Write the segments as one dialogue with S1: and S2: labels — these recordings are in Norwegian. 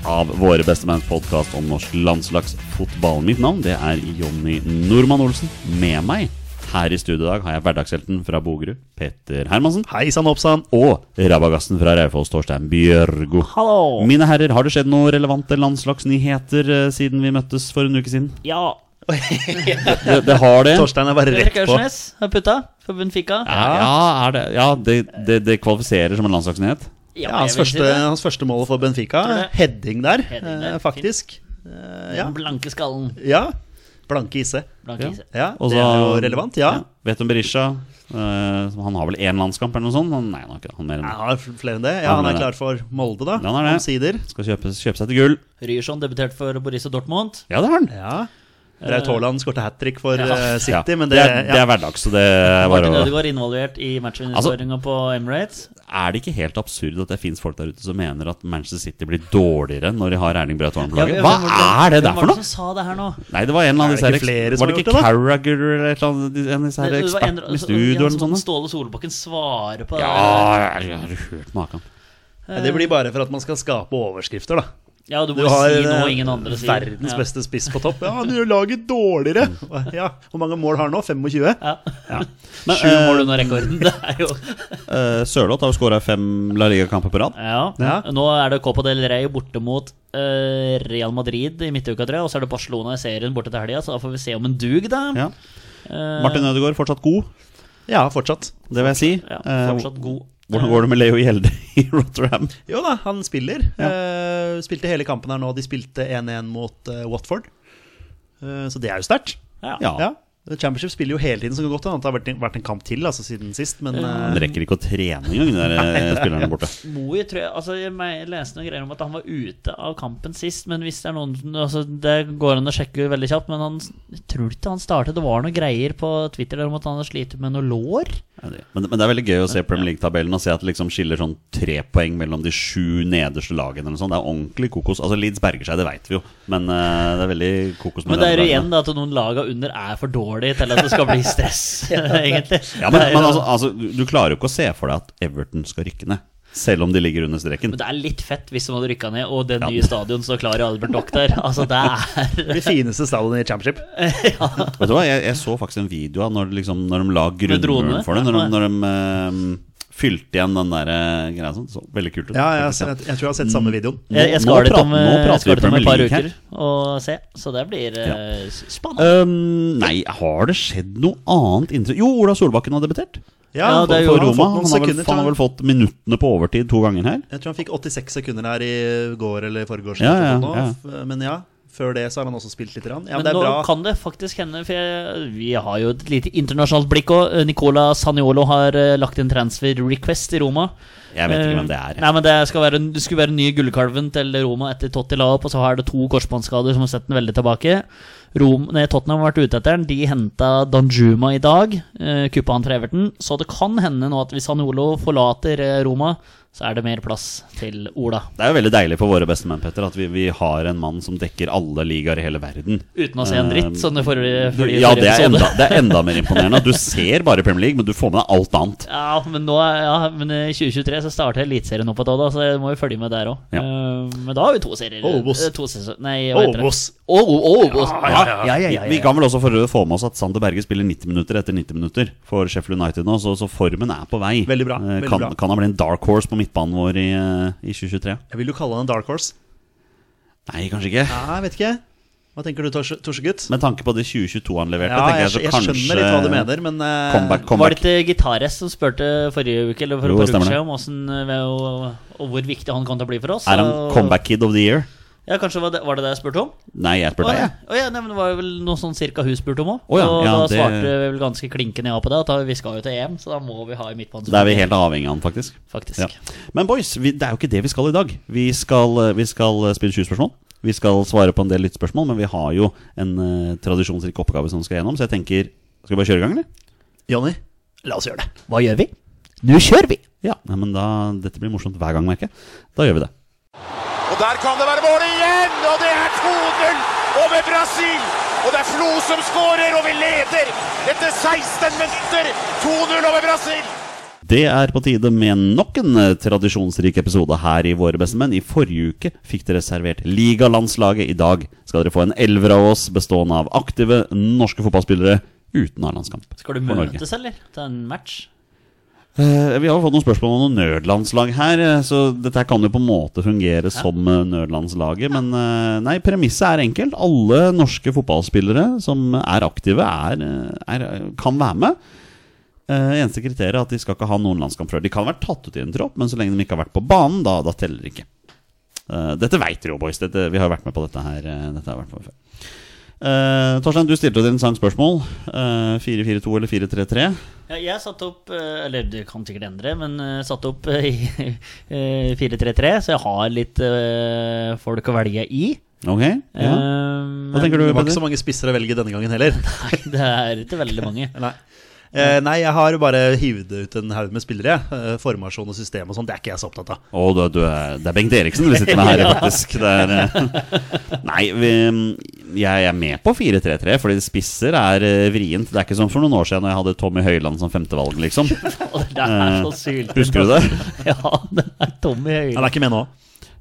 S1: av Våre bestemenns podkast om norsk landslagsfotball. Mitt navn det er Jonny Normann Olsen. Med meg her i studio i dag har jeg hverdagshelten fra Bogerud, Petter Hermansen.
S2: Hei sann, hopp sann.
S1: Og rabagassen fra Raufoss, Torstein Bjørgo.
S3: Hallo!
S1: Mine herrer, har det skjedd noen relevante landslagsnyheter eh, siden vi møttes for en uke siden?
S3: Ja.
S1: Det, det har det.
S2: Torstein er bare rett
S3: Erik
S2: på.
S3: Aursnes har putta for Benfica.
S1: Ja, ja, er det, ja det, det, det kvalifiserer som en landslagsnyhet.
S3: Ja,
S2: Ja, hans,
S3: jeg vil si
S2: første,
S3: det.
S2: hans første mål for Benfica.
S3: Tror det.
S2: Heading der,
S3: Heading der,
S2: eh, faktisk. Eh, ja.
S3: Den blanke skallen.
S2: ja. Blanke IC.
S3: Blanke
S1: Ja.
S3: ise.
S2: Ja,
S1: Og
S2: det
S1: så-
S2: er jo relevant. Ja.
S1: Vet du om Berisha? Eh, som- han har vel én landskamp eller noe sånt? Han, nei, han har ikke det. Han mer enn
S2: Ja,
S1: det.
S2: han har flere enn det. Ja,
S1: Han
S2: han
S1: er
S2: er klar for Molde, da.
S1: Han er det.
S2: Omsider.
S1: Skal kjøpe, kjøpe seg til gull.
S3: Ryerson debuterte for Borussia Dortmund.
S1: Ja, det har han.
S2: Ja. Braut Haaland skårte hat trick for eh,
S1: Eh, Ja,
S2: City, men
S1: det,
S2: det,
S1: er, det er
S2: ja.
S1: hverdags, så det er bare Altså-
S3: Martin
S1: å
S3: Ødegaard involvert i matchvinnerskåringa på Emirates.
S1: Er det ikke helt absurd at det fins folk der ute som mener at Manchester City blir dårligere når de har Erling Braut Haaland på laget?
S3: Ja, hvem
S1: Hva er det der
S3: hvem
S1: for
S3: var
S1: noe?
S3: det som sa det her nå?
S1: Nei, det var en eller
S2: Er
S1: annen
S2: det ikke
S1: av disse her
S2: flere
S1: eks-
S2: som
S1: Var
S2: har
S1: det ikke
S2: gjort det, da?
S1: Carragher eller et eller annet de- en altså, av disse her
S3: Det- det var en-
S1: ekspertene i studio
S3: en
S1: eller noe
S3: som-
S1: sånt? da?
S3: Ståle Solbakken svarer på det.
S1: Ja, jeg har hørt maken.
S2: Det blir bare for at man skal skape overskrifter, da.
S3: Ja, du må
S2: Du har
S3: si noe
S2: eh,
S3: ingen andre sier.
S2: verdens
S3: Ja.
S2: beste spiss på topp. Ja, Mm. han gjør laget dårligere! Ja, Hvor mange mål har han nå? 25?
S3: Ja.
S1: Ja. Men
S3: Sju mål under rekorden. eh, Det er jo
S1: eh, Sørloth har jo skåra fem La Liga-kamper på rad.
S3: Ja.
S2: Ja.
S3: Nå er det Copa del Rey borte mot eh, Real Madrid i midtuka, tror jeg. Og så er det Barcelona i serien borte til helga, så da får vi se om en dug, da.
S1: Ja.
S3: Eh,
S1: Martin Ødegaard fortsatt god,
S2: Ja, fortsatt.
S1: det vil jeg si.
S3: ja,
S1: Eh,
S3: fortsatt god.
S1: hvordan går det med Leo Gjelde i Rotterdam?
S2: Jo da, han spiller. Eh, spilte hele kampen her nå. De spilte 1-1 mot eh, Watford. Eh, så det er jo sterkt.
S3: Ja.
S1: Ja.
S2: Ja. Championship spiller jo hele tiden, så det kan godt hende at det har vært en, vært en kamp til altså, siden sist. Men
S1: Han
S2: eh,
S1: rekker ikke å trene engang, de der eh, spillerne borte.
S3: Moi tror jeg altså, Jeg me- leste noen greier om at han var ute av kampen sist, men hvis det er noen altså, Det går an å sjekke veldig kjapt, men han jeg tror ikke han startet. Det var noen greier på Twitter der om at han har slitt med noe lår.
S1: Ja, det- Men, men det er veldig gøy å se Premier League-tabellen og se at det liksom skiller sånn tre poeng mellom de sju nederste lagene. Eller sånn. Det er ordentlig kokos. Altså Leeds berger seg, det veit vi jo, men eh, det er veldig kokos. med
S3: Men det er jo
S1: denne
S3: igjen
S1: dagen.
S3: da, at noen laga under er for dårlige til at det skal bli stress, egentlig.
S1: Ja, men,
S3: Det er jo-
S1: men altså, altså, du du klarer jo ikke å se for deg at Everton skal rykke ned, selv om de ligger under streken.
S3: Men det er litt fett hvis de hadde rykka ned, og det
S1: Ja.
S3: nye stadion står klar i Albert Dock der. Altså, det er
S2: det fineste stadionet i Championship.
S1: Vet du hva, jeg, jeg så faktisk en video av når, de liksom, når de la grunnmuren
S3: dronene?
S1: for det. Når de,
S3: Ja.
S1: når de eh, fylte igjen den der eh, greia sånn. Så veldig kult ut.
S2: Ja, ja,
S1: faktisk,
S2: så jeg, jeg tror jeg har sett samme videoen.
S3: Jeg, jeg
S1: Nå-
S3: skal
S1: nå
S3: dit om, eh,
S1: prater- nå prater
S3: jeg
S1: vi
S3: skal dit om et par
S1: Premier League
S3: uker og se, så det blir eh, spennende.
S1: Um, nei, har det skjedd noe annet inntrykk? Jo, Ola Solbakken har debutert.
S3: Ja, det er jo-
S1: for
S2: han har fått
S1: Roma.
S2: noen
S1: Han har, vel,
S2: sekunder,
S1: han har vel fått minuttene på overtid to ganger her.
S2: Jeg tror han fikk 86 sekunder her i går eller foregårs.
S1: Ja,
S2: eller
S1: ja,
S2: noe sånt nå. F- eh, Men ja, før det så har han også spilt litt. grann. Ja, men,
S3: Men
S2: det er
S3: nå
S2: bra.
S3: kan det faktisk hende, for jeg, vi har jo et lite internasjonalt blikk òg. Nicola Saniolo har eh, lagt inn transfer request i Roma.
S1: Jeg vet ikke
S3: Eh,
S1: hvem det er.
S3: Nei, men det, skal være, det skulle være den nye gullkalven til Roma etter Totti la opp, og så har det to korsbåndskader som har sett den veldig tilbake. Rom, nei, Tottenham har vært ute etter den. De henta Danjuma i dag, eh, kuppa han fra Everton. Så det kan hende nå at hvis Hanolo forlater eh, Roma, så er det mer plass til Ola.
S1: Det er jo veldig deilig for våre beste menn, Petter, at vi, vi har en mann som dekker alle ligaer i hele verden.
S3: Uten å se en dritt,
S1: Eh,
S3: sånn i forrige,
S1: Du,
S3: forrige
S1: ja, det er,
S3: episode.
S1: enda, det er enda mer imponerende. at Du ser bare Premier League, men du får med deg alt annet.
S3: Ja, men nå er, ja, men i 2023 så starter Eliteserien opp igjen, da, så jeg må jo følge med der òg.
S1: Ja.
S3: men da har vi to serier.
S2: Obos.
S3: eh, To sesonger. Nei, hva heter det?
S2: Obos.
S3: Oh, oh, Obos.
S1: Vi kan vel også for få med oss at Sander Berge spiller 90 minutter etter 90 minutter for Sheffield United nå, så, så formen er på vei.
S2: Veldig bra,
S1: Eh,
S2: veldig
S1: kan,
S2: bra.
S1: kan han bli en dark horse på midtbanen vår i, eh, i 2023?
S2: Jeg vil jo kalle han en dark horse.
S1: Nei, kanskje ikke.
S2: Nei, jeg vet ikke. Hva tenker du, Tors- Torsegutt?
S1: Med tanke på det 2022 han leverte,
S2: Ja,
S1: tenker
S2: jeg,
S1: jeg så
S2: jeg
S1: kanskje
S2: skjønner litt hva du mener, men eh,
S1: Comeback,
S3: Var det
S1: comeback.
S3: ikke Gitarist som spurte forrige uke Eller for
S1: Jo,
S3: et
S1: det
S3: par uker
S1: stemmer det.
S3: siden om hvordan, eh, og, og hvor viktig han kom til å bli for oss?
S1: Er han
S3: og-
S1: comeback kid of the year?
S3: Ja, kanskje var det var det, det jeg spurte om?
S1: Nei, jeg spør
S3: Å
S1: deg.
S3: ja.
S1: jeg.
S3: Å ja, nei, men det var vel noe sånn cirka hun spurte om òg.
S1: Å ja,
S3: og
S1: ja,
S3: da
S1: det-
S3: svarte vi vel ganske klinkende ja på det. At da- vi skal jo til EM, så da må vi ha en midtbane.
S1: Da er vi helt avhengig av han, faktisk.
S3: Faktisk.
S1: Ja. Men boys, vi, det er jo ikke det vi skal i dag. Vi skal, eh, vi skal eh, spille 20 spørsmål. Vi skal svare på en del lyttespørsmål, men vi har jo en eh, tradisjonsrik oppgave som skal gjennom, så jeg tenker Skal vi bare kjøre i gang, eller?
S2: Jonny, la oss gjøre det.
S3: Hva gjør vi? Nå kjører vi!
S1: Ja. Nei, men da, Dette blir morsomt hver gang, merker jeg. Da gjør vi det.
S4: Og der kan det være mål igjen! Og det er 2-0 over Brasil! Og det er Flo som skårer, og vi leder etter 16 minutter! 2-0 over Brasil!
S1: Det er på tide med nok en eh, tradisjonsrik episode her i Våre bestemenn. I forrige uke fikk dere servert ligalandslaget. I dag skal dere få en elver av oss bestående av aktive norske fotballspillere uten A-landskamp.
S3: Skal du
S1: for Norge.
S3: møtes, eller? Til en match?
S1: Eh, Vi har jo fått noen spørsmål om noen nødlandslag her, eh, så dette her kan jo på en måte fungere som eh, nødlandslaget. Men eh, nei, premisset er enkelt. Alle norske fotballspillere som er aktive, er, eh, er, kan være med. Eh, Eneste kriteriet er at de skal ikke ha noen landskamp før. De kan ha vært tatt ut i en tropp, men så lenge de ikke har vært på banen, da, da teller det ikke. Eh, Dette veit dere jo, boys. Dette, vi har jo vært med på dette her. eh, Dette har jeg vært med på før. Eh, Torstein, du stilte et interessant spørsmål. Eh, 4-4-2 eller 4-3-3?
S3: Ja, jeg satte opp eh, Eller du kan sikkert endre, men eh, satte opp eh, i eh, 4-3-3, så jeg har litt eh, folk å velge i.
S1: Ok?
S3: Eh,
S1: Ja. Hva
S3: men
S1: tenker du,
S2: Det var
S1: Peder?
S2: ikke så mange spisser å velge denne gangen heller.
S3: Det er ikke veldig mange.
S2: Nei. Eh, nei, jeg har bare hivd ut en haug med spillere. jeg. Eh, formasjon og system og sånn, det er ikke jeg så opptatt av.
S1: Å, du, du er, det er Bengt Eriksen vi sitter med her, faktisk. Det er, eh, nei, vi, jeg er med på 4-3-3, fordi spisser er eh, vrient. Det er ikke som for noen år siden da jeg hadde Tommy Høiland som femtevalg, liksom.
S3: Og det er så syltent.
S1: Eh, Husker du det?
S3: Ja, det er Tommy
S2: Han
S3: Høyland.
S2: er ikke med nå.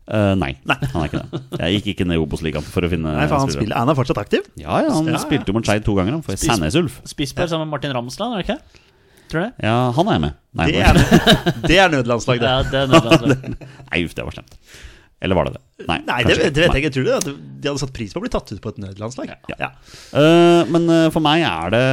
S1: Eh, nei, han er ikke det. Jeg gikk ikke ned i Obos-ligaen for å finne
S2: Nei, for han,
S1: spillere.
S2: spiller, han er fortsatt aktiv.
S1: Ja, ja, han
S2: Ja, ja.
S1: spilte jo mot Skeid to ganger, han, for Sandnes Ulf.
S3: Spissberg sammen med Martin Ramsland, er det ikke? Tror du det?
S1: Ja, han er jeg med. Nei,
S2: Det
S1: bare-
S2: er, det er nødlandslag, det.
S3: Ja, det er Nederland.
S1: nei uff, det var slemt. Eller var det det? Nei,
S2: Nei, det,
S1: kanskje ikke.
S2: det vet jeg ikke. Tror du at de hadde satt pris på å bli tatt ut på et nødlandslag?
S1: Ja.
S2: Ja.
S1: Eh, men eh, for meg er det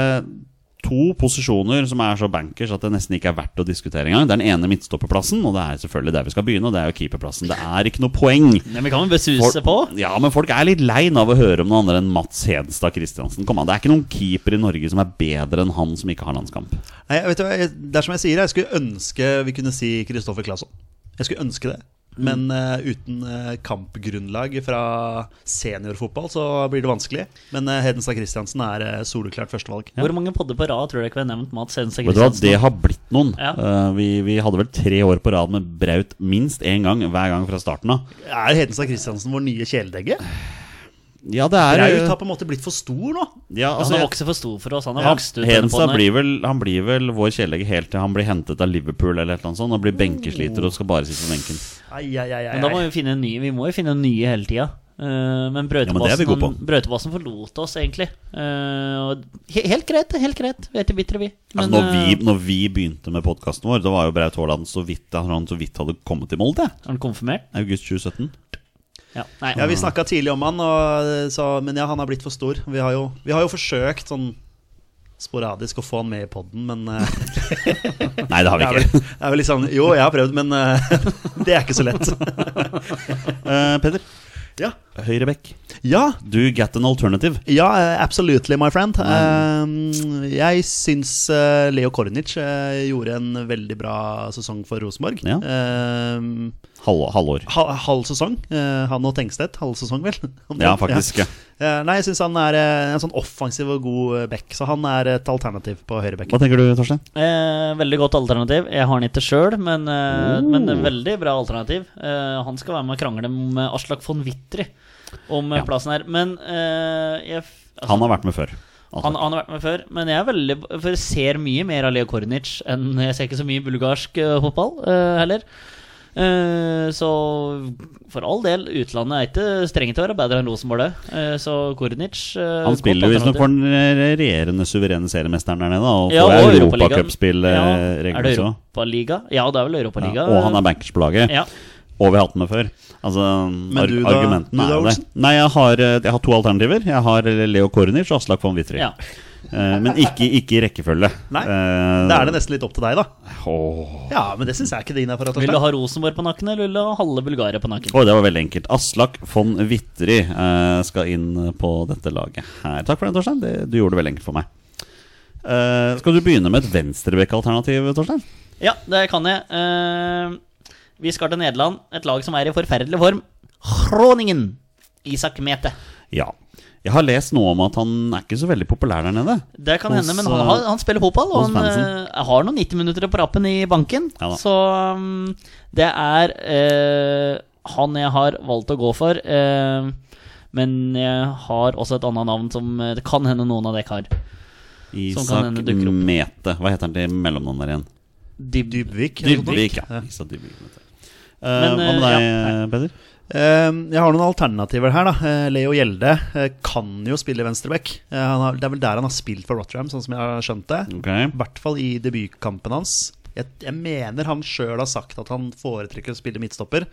S1: to posisjoner som er så bankers at det nesten ikke er verdt å diskutere engang. Det er den ene midtstopperplassen, og det er selvfølgelig der vi skal begynne, og det er jo keeperplassen. Det er ikke noe poeng.
S3: Men vi kan vel besuse på?
S1: Folk- Ja, men folk er litt lei av å høre om noen andre enn Mats Hedstad Christiansen. Kom an, det er ikke noen keeper i Norge som er bedre enn han som ikke har landskamp.
S2: Nei, jeg vet du hva, jeg, det er som jeg sier, jeg skulle ønske vi kunne si Kristoffer Claesson. Jeg skulle ønske det. Men eh, uten eh, kampgrunnlag fra seniorfotball så blir det vanskelig. Men eh, Hedenstad Christiansen er eh, soleklart førstevalg.
S3: Hvor mange podder på rad tror du ikke vi har nevnt Mats Hense
S1: Vet du hva, det
S3: Christiansen?
S1: har blitt noen.
S3: Ja.
S1: Eh, vi, vi hadde vel tre år på rad med Braut minst én gang hver gang fra starten av.
S2: Er Hedenstad Christiansen vår nye kjæledegge?
S1: Ja, det er
S2: Braut har på en måte blitt for stor nå.
S1: ja, altså,
S3: Han har
S1: jeg-
S3: vokst for stor for oss. Han har
S1: Ja,
S3: vokst ut denne
S1: Hedenstad
S3: podden her.
S1: blir vel, han blir vel vår kjæledegge helt til han blir hentet av Liverpool eller et eller annet sånt, og blir benkesliter og skal bare sitte på benken.
S2: Ai, ai, ai, ai.
S3: Men da må vi finne en ny. Vi må jo finne en ny hele tida. Eh, men
S1: Ja, men det er vi
S3: brøytebassen
S1: gode på.
S3: brøytebassen forlot oss, egentlig. Eh, og he helt greit, det, helt greit. Vi er ikke bitre, vi.
S1: Altså,
S3: Men,
S1: når, vi,
S3: eh,
S1: når vi begynte med podkasten vår, da var jo Braut Haaland så vidt han så vidt hadde kommet i Molde.
S3: Er han konfirmert?
S1: August 2017.
S3: Ja. Nei.
S2: Ja, Vi snakka tidlig om han, og, eh, så, men ja, han har blitt for stor. Vi har jo, vi har jo forsøkt sånn sporadisk å få han med i poden, men eh,
S1: Nei, det har
S2: det,
S1: vi
S2: er
S1: ikke.
S2: vel, det er vel litt sånn Jo, jeg har prøvd, men eh, det er ikke så lett.
S1: Eh, Peder,
S2: Ja,
S1: Høyrebekk.
S2: ja,
S1: Du get an alternative.
S2: ja eh, absolutely, my friend. Eh, jeg syns eh, Leo Kornic eh, gjorde en veldig bra sesong for Rosenborg.
S1: Ja.
S2: Eh,
S1: Halv, halvår.
S2: ha- halv sesong. Eh, han og Tengstedt, halv sesong, vel?
S1: Ja, faktisk. Ja.
S2: Eh, Nei, jeg syns han er eh, en sånn offensiv og god eh, back, så han er et alternativ på høyrebekken.
S1: Hva tenker du, Torstein?
S3: Eh, veldig godt alternativ. Jeg har den ikke sjøl, men, eh,
S1: Oh.
S3: men veldig bra alternativ. Eh, han skal være med og krangle med Aslak von Wittry om eh,
S1: Ja.
S3: plassen her. Men eh, jeg f- altså,
S1: Han har vært med før. Altså,
S3: han, han har vært med før, men jeg er veldig For jeg ser mye mer av Leo Kornic enn Jeg ser ikke så mye bulgarsk eh, fotball eh, heller. Eh, så for all del, utlandet er ikke strengt til å være bedre enn Rosenborg, det. Eh, så Kornic eh,
S1: Han
S3: godt
S1: spiller jo visstnok
S3: alternativ.
S1: for den eh, regjerende suverene seriemesteren der nede, da, og
S3: Ja,
S1: får
S3: og Europaligaen.
S1: europacupspill
S3: Ja,
S1: eh,
S3: Er det
S1: regelmessig også.
S3: Europaliga? Ja, det er vel
S1: Ja,
S3: Europaliga.
S1: og han er bankers på laget.
S3: Ja.
S1: og vi har hatt den med før. Altså,
S2: Men
S1: ar
S2: du da-
S1: argumentene
S2: du da,
S1: er jo det.
S2: Olsen?
S1: Nei, jeg har, eh, jeg har to alternativer. Jeg har eh, Leo Kornic og Aslak von Wittry.
S3: Ja.
S1: Eh, men ikke, ikke i rekkefølge.
S2: Nei,
S1: Eh,
S2: Da er det nesten litt opp til deg, da.
S1: Åh.
S2: Ja, men det syns jeg ikke det innafor.
S3: Vil du ha Rosenborg på nakken, eller vil du ha halve Bulgaria på nakken?
S1: Oi, det var veldig enkelt. Aslak von Wittry eh, skal inn på dette laget her. Takk for den, Torstein. Det, du gjorde det veldig enkelt for meg. Eh, skal du begynne med et venstrebekk-alternativ, Torstein?
S3: Ja, det kan jeg. Eh, vi skal til Nederland. Et lag som er i forferdelig form. Groningen. Isak Mete.
S1: Ja. Jeg har lest noe om at han er ikke så veldig populær der nede.
S3: Det kan
S1: Hos,
S3: hende, men han, har, han spiller fotball, og
S1: hos
S3: han
S1: fansen.
S3: eh, har noen 90 minutter på rappen i banken.
S1: Ja da.
S3: så mm, det er eh, han jeg har valgt å gå for. eh, men jeg har også et annet navn som eh, det kan hende noen av dere har.
S2: Sånn
S3: som
S1: Isak
S3: kan hende dukker opp.
S1: Mete. Hva heter han til mellomnavn der igjen?
S3: Dyb-
S2: Dybvik. eller noe sånt.
S1: Dybvik, ja. Isak Dybvik. Mete. Eh, hva
S3: Men,
S1: med
S3: eh,
S1: deg,
S3: ja,
S1: Peder?
S2: Eh, Jeg har noen alternativer her, da. Eh, Leo Gjelde eh, kan jo spille venstreback. Eh, han har- Det er vel der han har spilt for Rotterdam, sånn som jeg har skjønt det.
S1: Ok.
S2: I hvert fall i debutkampen hans. Jeg, jeg mener han sjøl har sagt at han foretrekker å spille midtstopper,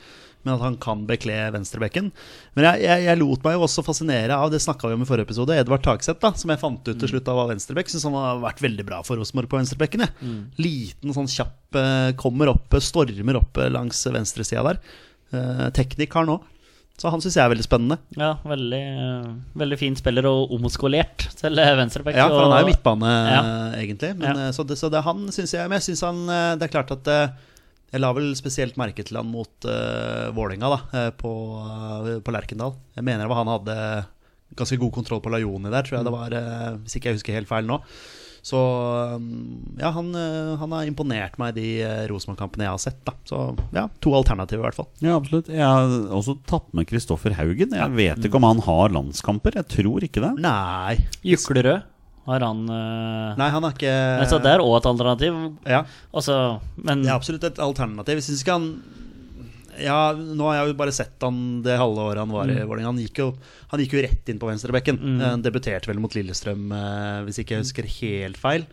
S2: men at han kan bekle venstrebekken. Men jeg, jeg, jeg lot meg jo også fascinere av det snakka vi om i forrige episode, Edvard Tagseth, da, som jeg fant ut til slutt av var venstrebekk. Syns han har vært veldig bra for Rosenborg på venstrebekken. jeg. Liten, sånn kjapp, eh, kommer opp, eh, stormer opp eh, langs venstresida der. Eh, Teknikk har han òg, så han syns jeg er veldig spennende.
S3: Ja, veldig, eh, veldig fin spiller og omskolert til eh, venstreback.
S2: Ja, for han er jo
S3: og-
S2: midtbane,
S3: Ja.
S2: eh, egentlig. Men,
S3: Ja.
S2: eh, Så, det, så det er han, syns jeg. Men jeg syns han eh, Det er klart at eh, jeg la vel spesielt merke til han mot uh, Vålerenga, da, eh, på, eh, på Lerkendal. Jeg mener det var han hadde ganske god kontroll på Lajoni der, tror jeg det
S3: Mm.
S2: var, eh, hvis ikke jeg husker helt feil nå. Så eh, ja, han, eh, han har imponert meg i de eh, Rosenborg-kampene jeg har sett, da. Så ja, to alternativer i hvert fall.
S1: Ja, absolutt. Jeg har også tatt med Kristoffer Haugen. Jeg vet ikke om han har landskamper. Jeg tror ikke det.
S2: Nei.
S3: Juklerød har han eh,
S2: Nei, han er ikke
S3: Så det er òg et alternativ.
S2: ja.
S3: Altså, men
S2: Det er absolutt et alternativ. Jeg synes ikke han ja, Nå har jeg jo bare sett han det halve året han var i Vålerenga. Han, gikk jo- han gikk jo rett inn på venstrebekken. Eh, Debuterte vel mot Lillestrøm, eh, hvis ikke jeg husker helt feil.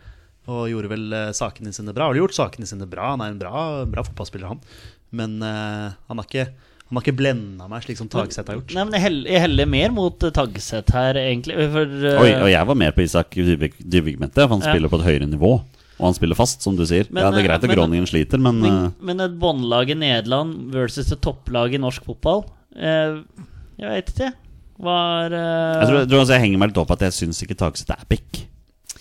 S2: Og gjorde vel eh, sakene sine bra. Har du gjort sakene sine bra? Han er en bra, bra fotballspiller, han. Men eh, han har ikke, han har ikke blenda meg, slik som Tagseth har gjort.
S3: Nei, men jeg heller, jeg heller mer mot eh, Tagseth her, egentlig. For, eh,
S1: Oi, og jeg var mer på Isak Dybvik, Dybvik Mette, for han
S3: Ja.
S1: spiller på et høyere nivå. Og han spiller fast, som du sier.
S3: Men,
S1: ja, Det er
S3: eh,
S1: greit at
S3: men-
S1: Groningen sliter, men
S3: men,
S1: eh,
S3: men et båndlag i Nederland versus et topplag i norsk fotball eh, Jeg vet ikke. Var eh,
S1: jeg tror, jeg tror altså jeg henger meg litt opp at jeg syns ikke Tagseth er back.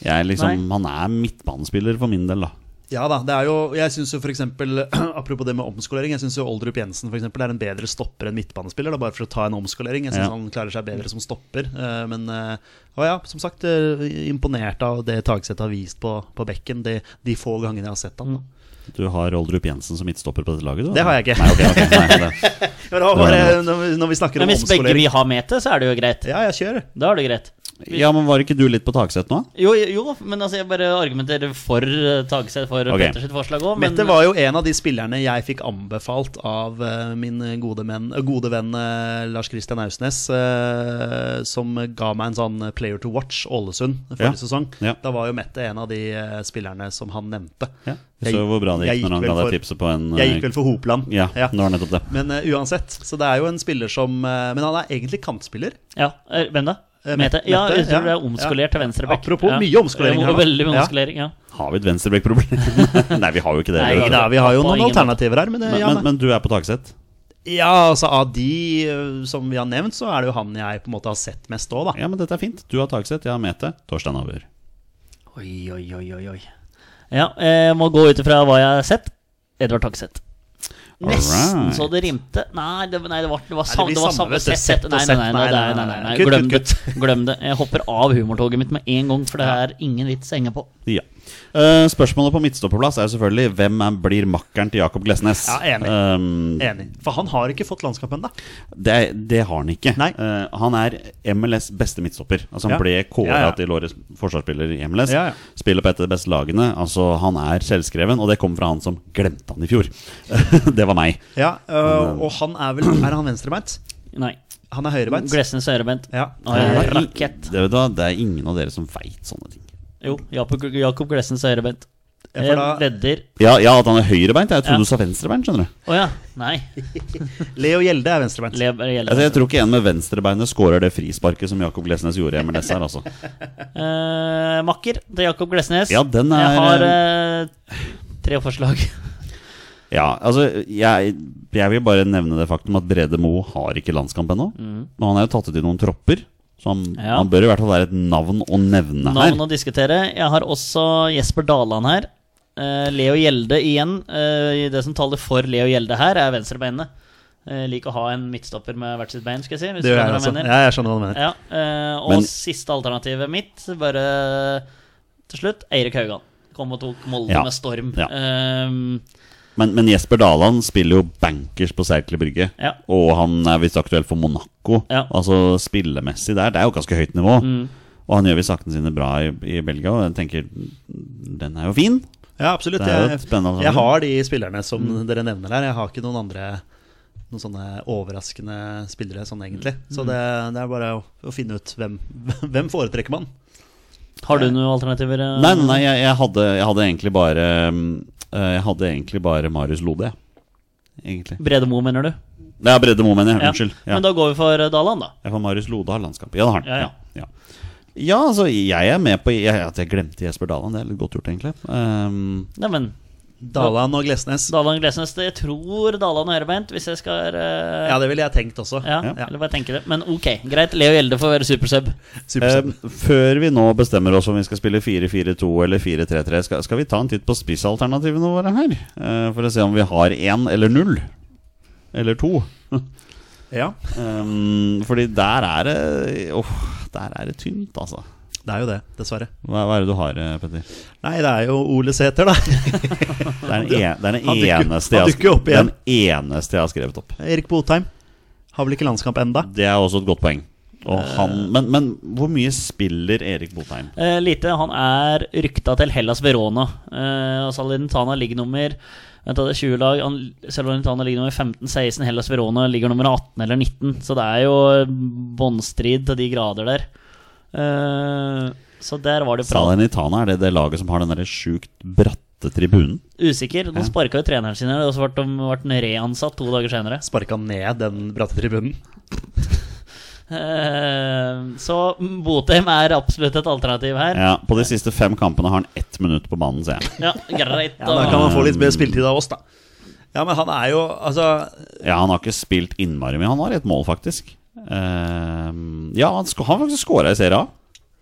S1: Jeg er liksom,
S3: Nei.
S1: han er midtbanespiller for min del, da.
S2: Ja da, det er jo, jeg synes jo for eksempel, Apropos det med omskolering, jeg syns Oldrup Jensen for eksempel, er en bedre stopper enn midtbanespiller. Da, bare for å ta en omskolering. Jeg syns
S1: Ja.
S2: han klarer seg bedre som stopper. eh, Men eh, og ja, som sagt, eh, imponert av det Tagseth har vist på, på bekken de, de få gangene jeg har sett
S3: Mm.
S2: han. da.
S1: Du har Oldrup Jensen som midtstopper på dette laget, du?
S2: Det har jeg ikke.
S1: Nei, ok, ok, nei, det.
S2: Men det var bare, eh, når, vi, når vi snakker
S3: Men
S2: om
S3: hvis begge
S2: omskolering
S3: vi har med til, så er det jo greit.
S2: Ja, jeg kjører.
S3: Da er det greit.
S1: Ja, men var ikke du litt på Tagseth nå?
S3: Jo, jo, men altså, jeg bare argumenterer for eh, Tagseth for
S1: Ok.
S3: Petters forslag òg. Men
S2: Mette var jo en av de spillerne jeg fikk anbefalt av eh, min gode, menn, gode venn eh, Lars Christian Ausnes, eh, som ga meg en sånn player to watch Ålesund forrige
S1: Ja.
S2: sesong.
S1: Ja.
S2: Da var jo Mette en av de eh, spillerne som han nevnte.
S1: Ja. Vi så jo hvor bra det
S2: jeg
S1: gikk når han
S2: vel
S1: ga
S2: for-
S1: deg tipset på en eh,
S2: Jeg gikk vel for Hopland.
S1: Ja, det var nettopp det.
S2: Men eh, uansett, så det er jo en spiller som eh, Men han er egentlig kantspiller.
S3: Ja, eh, hvem da?
S2: Eh,
S3: Mete.
S2: Mette,
S3: Ja, jeg
S2: ja.
S3: tror det er omskolert til venstreback.
S2: Apropos,
S3: ja.
S2: mye omskolering her
S3: her.
S2: nå.
S3: Veldig mye
S2: Ja.
S3: omskolering, ja.
S1: Har vi et venstreback-problem? Nei, vi har jo ikke det.
S3: Nei,
S1: eller?
S3: da.
S2: Ja, vi har jo
S3: På
S2: noen
S3: ingen måte.
S2: alternativer her, men, eh,
S1: men,
S2: ja,
S1: men, men du er på Tagseth?
S2: ja, altså av de eh, som vi har nevnt, så er det jo han jeg på en måte har sett mest òg, da.
S1: Ja, men dette er fint. Du har Tagseth, jeg har Mete. Torstein avgjør.
S3: Oi, oi, oi, oi, oi. Ja, jeg må gå ut ifra hva jeg har sett. Edvard Takseth. Nesten
S1: Alright.
S3: så det rimte. Nei, det, nei, det var, det var, sam,
S2: blir
S3: det var
S2: samme,
S3: samme
S2: vet du.
S3: sett.
S2: Sett
S3: sett.
S2: og
S3: Nei, nei,
S2: sett.
S3: nei, nei, nei, nei, nei,
S2: Kutt,
S3: Glem det.
S2: kutt,
S3: Glem det. Jeg hopper av humortoget mitt med en gang, for det er ingen vits å henge på.
S1: Ja. Eh, spørsmålet på midtstopperplass er jo selvfølgelig hvem er, blir makkeren til Jakob Glesnes.
S2: Ja, enig.
S1: Um,
S2: Enig. For han har ikke fått landskap ennå.
S1: det, det har han ikke.
S2: Nei.
S1: Eh, han er MLS beste midtstopper. Altså Han
S2: Ja.
S1: ble kåra
S2: Ja, ja.
S1: til årets forsvarsspiller i MLS.
S2: Ja, ja.
S1: Spiller på et av de beste lagene. Altså Han er selvskreven, og det kom fra han som glemte han i fjor. det var meg.
S2: Ja, øh, og han er vel Er han venstrebeint?
S3: Nei.
S2: Han er høyrebeint?
S3: Glesnes ørebent.
S2: Ja.
S3: Nei,
S1: Det er-
S3: Ah, rakett.
S1: Det, vet du hva, det er ingen av dere som veit sånne ting.
S3: Jo, Jakob, Jakob Glesnes ørebent.
S2: for da-
S3: Jeg vedder
S1: Ja, ja, at han er høyrebeint. Jeg
S3: Ja.
S1: trodde du sa venstrebeint. skjønner du
S3: Å ja. Nei.
S2: Leo Gjelde er venstrebeint.
S3: Lev gjelder.
S1: altså, Jeg tror ikke en med venstrebeinet scorer det frisparket som Jakob Glesnes gjorde hjemme dess her. Altså.
S3: Eh, makker til Jakob Glesnes.
S1: Ja, den er-
S3: Jeg har eh, tre forslag.
S1: Ja, altså, jeg, jeg vil bare nevne det faktum at Brede Moe har ikke landskamp ennå. Men han er jo tatt ut i noen tropper, så han,
S3: Mm. Ja.
S1: han bør i hvert fall være et navn å nevne her.
S3: Navn å diskutere. Jeg har også Jesper Daland her. Eh, Leo Gjelde igjen. Eh, det som taler for Leo Gjelde her, er venstrebeinet. Uh, Liker å ha en midtstopper med hvert sitt bein, skal jeg si. Hvis
S2: Det
S3: du
S2: gjør jeg
S3: skjønner hva jeg
S2: altså.
S3: mener.
S2: Ja, jeg skjønner hva du mener.
S3: Ja, eh, og
S1: Men-
S3: siste alternativet mitt, bare til slutt, Eirik Haugan. Kom og tok Molde
S1: Ja,
S3: med storm.
S1: ja.
S3: Ehm,
S1: Men, men Jesper Daland spiller jo bankers på Serkle Brygge.
S3: Ja.
S1: Og han er visst aktuell for Monaco.
S3: Ja. Mm.
S1: Altså spillemessig der. Det er jo ganske høyt nivå. Og han gjør visst sakene sine bra i, i Belgia, og jeg tenker den er jo fin.
S2: Ja, absolutt.
S1: Det er jo
S2: Jeg,
S1: et spennende Mm.
S2: jeg
S1: alternativ.
S2: har de spillerne som dere nevner her. Jeg har ikke noen andre noen sånne overraskende spillere sånn egentlig.
S3: Mm.
S2: Så det, det er bare å, å finne ut hvem, hvem foretrekker man.
S3: har du noen alternativer? eh?
S1: Nei, nei, nei jeg, jeg, hadde, jeg hadde egentlig bare mm, eh, Jeg hadde egentlig bare Marius Lode, jeg. Egentlig.
S3: Brede Moe, mener du?
S1: Det er Bredde Moe, mener jeg. Unnskyld. Ja.
S3: Men da går vi for eh, Daland, da.
S1: Jeg får Marius Lode har landskap. Ja, det har han.
S3: Ja,
S1: Ja, ja. ja. altså, jeg er med på jeg, At jeg glemte Jesper Daland. Det er litt godt gjort, egentlig. Ehm,
S3: Nei, men
S2: Dalan og Glesnes.
S3: Daland Glesnes. det- Jeg tror Daland er høyrebeint, hvis jeg skal eh,
S2: Ja, det ville jeg tenkt også.
S3: ja,
S2: ja.
S3: Eller bare tenke det. Men ok, greit. Leo Gjelde får være supersub.
S2: Supersub.
S1: ehm, før vi nå bestemmer oss om vi skal spille 4-4-2 eller 4-3-3, skal, skal vi ta en titt på spissalternativene våre her? Eh, for å se om vi har én eller null. Eller to.
S2: ja,
S1: Ehm, fordi der er det Åh, der er det tynt, altså.
S2: det er jo det, dessverre.
S1: Hva, hva er det du har, eh, Petter?
S2: Nei, det er jo Ole Sæter, da.
S1: Det er den, en, det er den,
S2: Han dukker-
S1: eneste,
S2: han
S1: jeg,
S2: dukker
S1: har-
S2: opp igjen.
S1: den eneste jeg har skrevet opp.
S2: Erik Botheim. Har vel ikke landskamp enda.
S1: Det er også et godt poeng. Og
S2: Eh.
S1: han, men, men hvor mye spiller Erik Botheim?
S3: Eh, lite. Han er rykta til Hellas Verona. Eh, og Salernitana ligger nummer Vent, da, det er 20 lag. Han- Salernitana ligger nummer 15-16. Hellas Verona ligger nummer 18 eller 19. Så det er jo båndstrid til de grader der. Eh, så der var det bra.
S1: Salernitana er det det laget som har den der sjukt bratte tribunen.
S3: Usikker. De sparka jo treneren sin, her, og så ble de ble den reansatt to dager senere.
S2: Sparka ned den bratte tribunen.
S3: Eh, så Botheim er absolutt et alternativ her.
S1: Ja, på de siste fem kampene har han ett minutt på banen, ser jeg.
S3: Ja, greit.
S2: Ja, Da
S3: da.
S2: kan man få litt mer spilletid av oss, da. Ja, men han er jo Altså,
S1: Ja, Han har ikke spilt innmari mye. Han har ett mål, faktisk. Eh, ja, han sk- har faktisk scora i Serie A.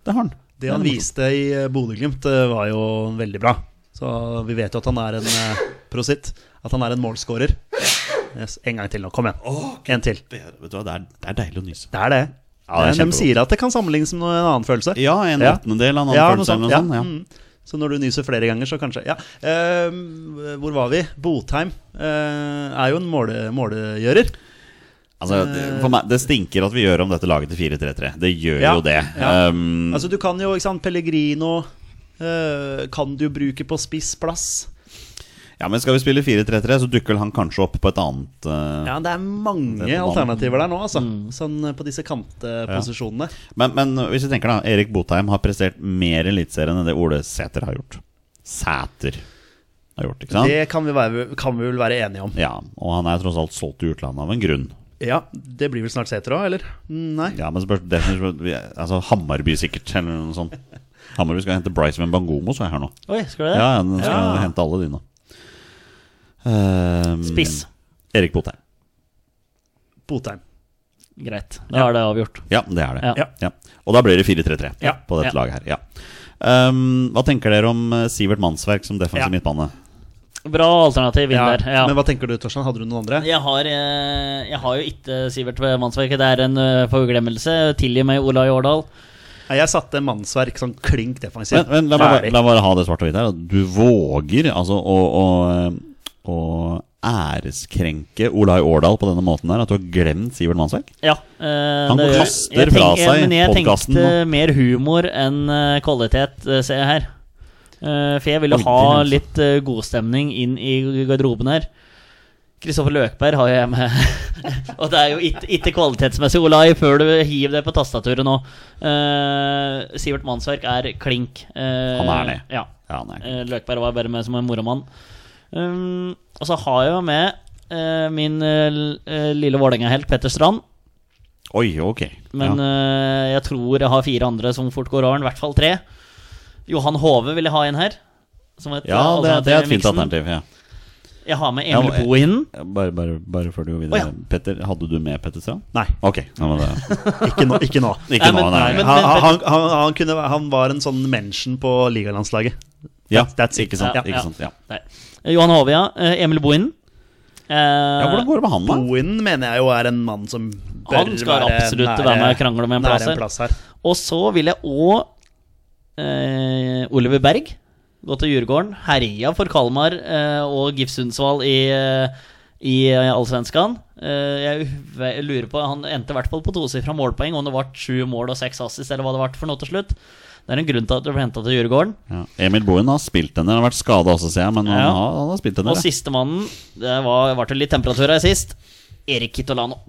S1: Det har han.
S2: Det han viste i eh, Bodø-Glimt, eh, var jo veldig bra. Så vi vet jo at han er en eh, prosit. At han er en målskårer. Yes, en gang til nå. Kom igjen. En til.
S1: Det, vet du hva, det, er, det er deilig å nyse.
S2: Det er det.
S1: Ja, det er
S2: Men
S1: kjempegodt.
S2: de sier at det kan sammenlignes med noe- en annen følelse.
S1: Ja, en
S2: Ja.
S1: åttendedel av en annen
S2: Ja,
S1: følelse eller noe sånt. sånn, Ja.
S2: mm. Så når du nyser flere ganger, så kanskje Ja. Eh, hvor var vi? Botheim eh, er jo en måle, målegjører.
S1: Altså, det, for meg, det stinker at vi gjør om dette laget til 4-3-3. Det gjør
S2: Ja,
S1: jo det.
S2: ja.
S1: Um,
S2: Altså Du kan jo, ikke sant, Pellegrino eh, kan du bruke på spissplass.
S1: Ja, men skal vi spille 4-3-3, så dukker vel han kanskje opp på et annet eh,
S2: Ja, det er mange
S1: Det er på banen.
S2: alternativer der nå, altså. Sånn eh, på disse kantposisjonene.
S1: men, men hvis vi tenker, da. Erik Botheim har prestert mer Eliteserien enn det Ole Sæter har gjort. Sæter har gjort, ikke sant?
S2: Det kan vi, være, kan vi vel være enige om.
S1: Ja, og han er tross alt solgt til utlandet av en grunn.
S2: Ja, det blir vel snart Sæter òg, eller? Mm, Nei.
S1: Ja, men spørs definitivt vi- Altså Hammarby, sikkert, eller noe sånt. Hammarby skal hente Bryce med Bangomo, så jeg her nå.
S3: Oi, skal du det?
S1: Ja, ja, den skal hente alle de nå. Ehm,
S3: Spiss.
S1: Erik Botheim.
S2: Botheim.
S3: Mm. Greit. Da er det avgjort.
S1: Ja, det er det.
S3: Ja.
S1: Ja. Og da blir det 4-3-3
S3: Ja.
S1: på dette
S3: Ja.
S1: laget her. Ja. Ehm, hva tenker dere om eh, Sivert Mannsverk som defensiv
S2: Ja.
S1: midtbane?
S3: Bra alternativ inn der. Ja.
S2: Men hva tenker du, Torstein? Hadde du noen andre?
S3: Jeg har, eh, jeg har jo ikke Sivert ved mannsverket. Det er en eh, forglemmelse. Tilgi meg, Olai Årdal.
S2: Nei, Jeg satte mannsverk sånn klink
S1: Men,
S2: defensivt.
S1: men la, meg, bare-
S2: Ferdig.
S1: la meg bare ha det svart og hvitt her. at Du våger altså å, å, eh, å æreskrenke Olai Årdal på denne måten her. At du har glemt Sivert Mannsverk.
S3: Ja, eh,
S1: Han
S3: det gjør-
S1: kaster
S3: jeg
S1: fra
S3: tenker-
S1: seg
S3: Men jeg
S1: podcasten
S3: tenkte mer humor enn eh, kvalitet, eh, ser jeg her. Eh, For jeg ville
S1: Oi,
S3: ha
S1: det er
S3: litt eh, godstemning inn i garderoben her. Kristoffer Løkberg har jeg med. og det er jo ikke- ikke kvalitetsmessig, Olai, før du hiver det på tastaturet nå. Eh, Sivert Mannsverk er klink.
S1: Han er det.
S3: Ja.
S1: Ja, nei.
S3: Eh, Løkberg var bare med som en moromann. Um, og så har jeg jo med eh, min eh, l- eh, lille Vålerenga-helt Petter Strand.
S1: Oi, ok.
S3: Men
S1: ja.
S3: eh, jeg tror jeg har fire andre som fort går over den, i hvert fall tre. Johan Hove vil jeg ha inn her. Som et
S1: ja
S3: eh,
S1: det, det er et
S3: i
S1: fint
S3: miksen.
S1: alternativ. Ja.
S3: Jeg har med
S1: Ja,
S3: Emil
S1: og-
S3: Poe inn.
S1: Bare, bare, bare før du går
S3: Å,
S1: videre.
S3: ja.
S1: Petter, hadde du med Petter Strand?
S2: Nei,
S1: Ok. Nå var det.
S2: ikke nå. Ikke nå.
S1: Ikke
S3: men-
S1: nå, nei.
S3: men-
S2: Han, han, han, han, kunne, han var en sånn mention på ligalandslaget.
S1: ja,
S2: that's it.
S1: ikke sant.
S3: Ja, ja.
S1: ikke sant ja.
S3: Nei. Eh, Johan Hove, ja. Eh, Emil Boe inn. Eh,
S1: ja, Hvordan går det med han, da?
S2: Bohinen mener jeg jo er en mann som bør
S3: Han skal absolutt være med og krangle om en plass
S2: nære
S3: her.
S2: en plass her.
S3: Og så vil jeg òg eh, Oliver Berg. Gå til Djurgården. Herja for Kalmar eh, og GIF Sundsvall i, eh, i eh, Allsvenskan. Eh, jeg ve- lurer på Han endte i hvert fall på tosifra målpoeng, om det ble sju mål og seks assist, eller hva det ble for noe til slutt. Det er en grunn til at det ble henta til Djurgården.
S1: Ja. Emil Bohin har spilt en del. Han Har vært skada også, ser jeg, men
S3: Ja.
S1: han, har, han har spilt en
S3: Og
S1: del. ja.
S3: sistemannen, det var, ble det litt temperatur her sist, Erik Kitolano.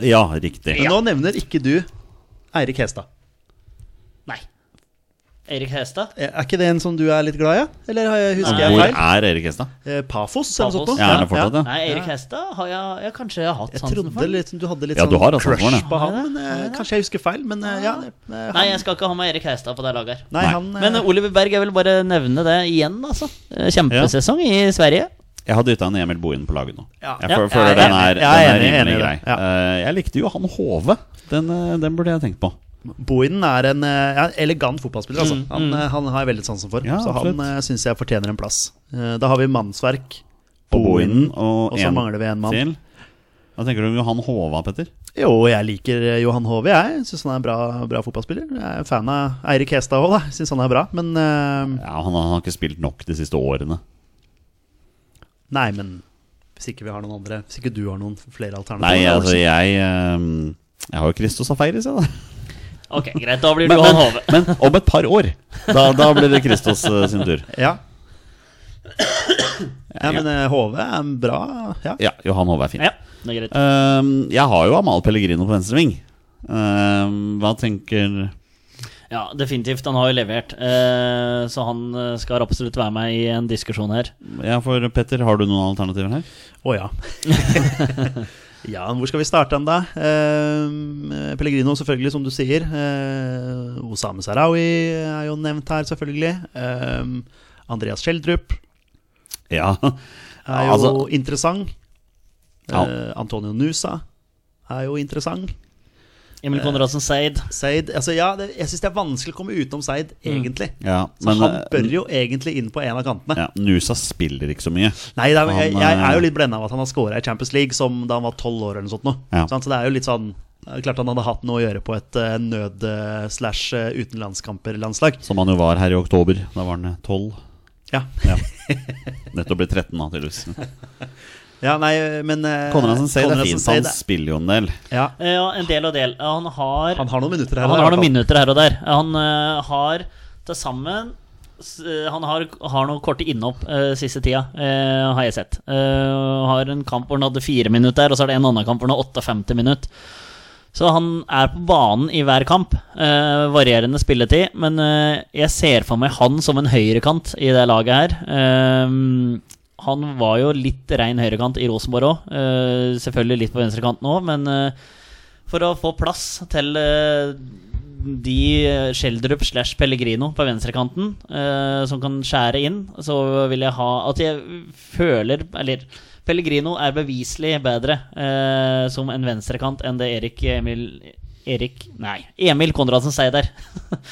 S1: Ja, riktig.
S2: Men nå nevner ikke du Eirik Hestad.
S3: Nei. Erik Hestad?
S2: Eh, Er er ikke det en som du er litt glad i? Eller har jeg- husker jeg
S1: Hvor
S2: feil?
S1: er Erik Hestad?
S2: Eh, Pafos eller noe
S3: Pafos.
S2: sånt?
S1: Ja,
S2: noe?
S1: er han fortsatt, ja?
S3: Nei, Erik Hestad har jeg, jeg kanskje har hatt
S2: Jeg
S3: sansen
S2: trodde
S3: for.
S2: liksom du hadde litt
S1: Ja, du har
S2: sånn
S1: altså
S2: crush
S1: sansen for den,
S2: på han. Men, eh, kanskje jeg husker feil, men eh, ja. eh,
S3: Nei, jeg skal ikke ha med Erik Hestad på det laget her.
S2: Nei,
S1: Nei.
S2: han eh,
S3: Men eh, Oliver Berg, jeg vil bare nevne det igjen, altså. Eh, Kjempesesong i Sverige.
S1: Jeg har dytta en Emil Bohin på laget nå.
S2: Ja.
S1: Jeg
S3: Ja,
S1: føl-
S3: jeg
S1: føler
S3: er
S1: den
S2: enig.
S1: er,
S2: Jeg er
S1: den er
S2: enig,
S1: rimelig
S2: enig i
S1: grei.
S2: det. Ja.
S1: Eh, jeg likte Johan Hove. Den, eh, den burde jeg tenkt på.
S2: Bohinen er en eh, ja, en elegant fotballspiller, altså. Han, eh, han har jeg veldig sansen for.
S1: Ja,
S2: så han
S1: absolutt.
S2: syns jeg fortjener en plass. Eh, Da har vi mannsverk,
S1: På Bohinen og,
S2: og så
S1: en
S2: mangler vi en mann.
S1: til. Hva tenker du om Johan Hova, Petter?
S2: Jo, jeg liker eh, Johan Hove, jeg. Syns han er en bra, bra fotballspiller. Jeg er fan av Eirik Hestad òg, da. Syns han er bra. Men eh,
S1: Ja, han, har ikke spilt nok de siste årene.
S2: Nei, men hvis ikke vi har noen andre Hvis ikke du har noen flere alternativer
S1: Nei,
S2: da,
S1: altså,
S2: Olsen.
S1: jeg eh, Jeg har jo Christos Afaris, jeg, da.
S3: Ok, greit, da blir du
S1: Men,
S3: Johan
S1: men,
S3: Hove.
S1: men om et par år. Da, da blir det Christos eh, sin tur.
S2: Ja. ja, men eh, Hove er en bra Ja.
S1: Ja, Johan Hove er fin.
S3: Ja, det er greit.
S1: Ehm, jeg har jo Amal Pellegrino på venstre ving. Ehm, hva tenker
S3: Ja, definitivt. Han har jo levert. eh, Så han eh, skal absolutt være med i en diskusjon her.
S1: Ja, for Petter, har du noen alternativer her?
S2: Å ja. ja, men hvor skal vi starte den, da? Eh, Pellegrino, selvfølgelig, som du sier. Eh, Osame Sarawi er jo nevnt her, selvfølgelig. Eh, Andreas Schjelderup
S1: Ja,
S2: er jo
S1: Altså-
S2: interessant.
S1: Ja.
S2: Eh, Antonio Nusa er jo interessant.
S3: Emil Konradsen Seid.
S2: Seid altså ja, det, Jeg syns det er vanskelig å komme utenom Seid, egentlig.
S1: ja
S2: Så
S1: Mm. men
S2: han
S1: eh,
S2: bør jo egentlig inn på en av kantene.
S1: ja, Nusa spiller ikke så mye.
S2: Nei, det er, jeg,
S1: Han,
S2: jeg
S1: eh,
S2: er jo litt blenda av at han har scora i Champions League som da han var tolv år. eller noe sånt nå.
S1: Ja.
S2: Sant? Så det er jo litt sånn eh, Klart han hadde hatt noe å gjøre på et eh, nød-slash-utenlandskamper-landslag.
S1: Som han jo var her i oktober. Da var han eh, tolv.
S2: Ja.
S1: Ja. Nettopp blitt 13, da, tydeligvis.
S2: ja, nei, men eh,
S1: Konradsen Seid er
S2: Konradsen
S1: fin,
S2: Seid
S1: han
S2: er-
S1: spiller jo en del.
S2: Ja,
S3: Eh, Ja, en del og del. Han har
S2: han har noen minutter her. i
S3: Han har
S2: hvert
S3: noen
S2: fall.
S3: minutter her og der. Han eh, har til sammen s- eh, Han har, har noen korte innhopp eh, siste tida, eh, har jeg sett. Eh, har en kamp hvor han hadde fire minutter, og så er det en annen kamp hvor han har 58 minutter. Så han er på banen i hver kamp. Eh, varierende spilletid. Men eh, jeg ser for meg han som en høyrekant i det laget her. Eh, han var jo litt rein høyrekant i Rosenborg òg. Eh, selvfølgelig litt på venstrekant nå, men eh, for å få plass til eh, de eh, Schjelderup slash Pellegrino på venstrekanten eh, som kan skjære inn, så vil jeg ha At jeg føler Eller Pellegrino er beviselig bedre eh, som en venstrekant enn det Erik Emil Erik Nei, Emil Konradsen sier der.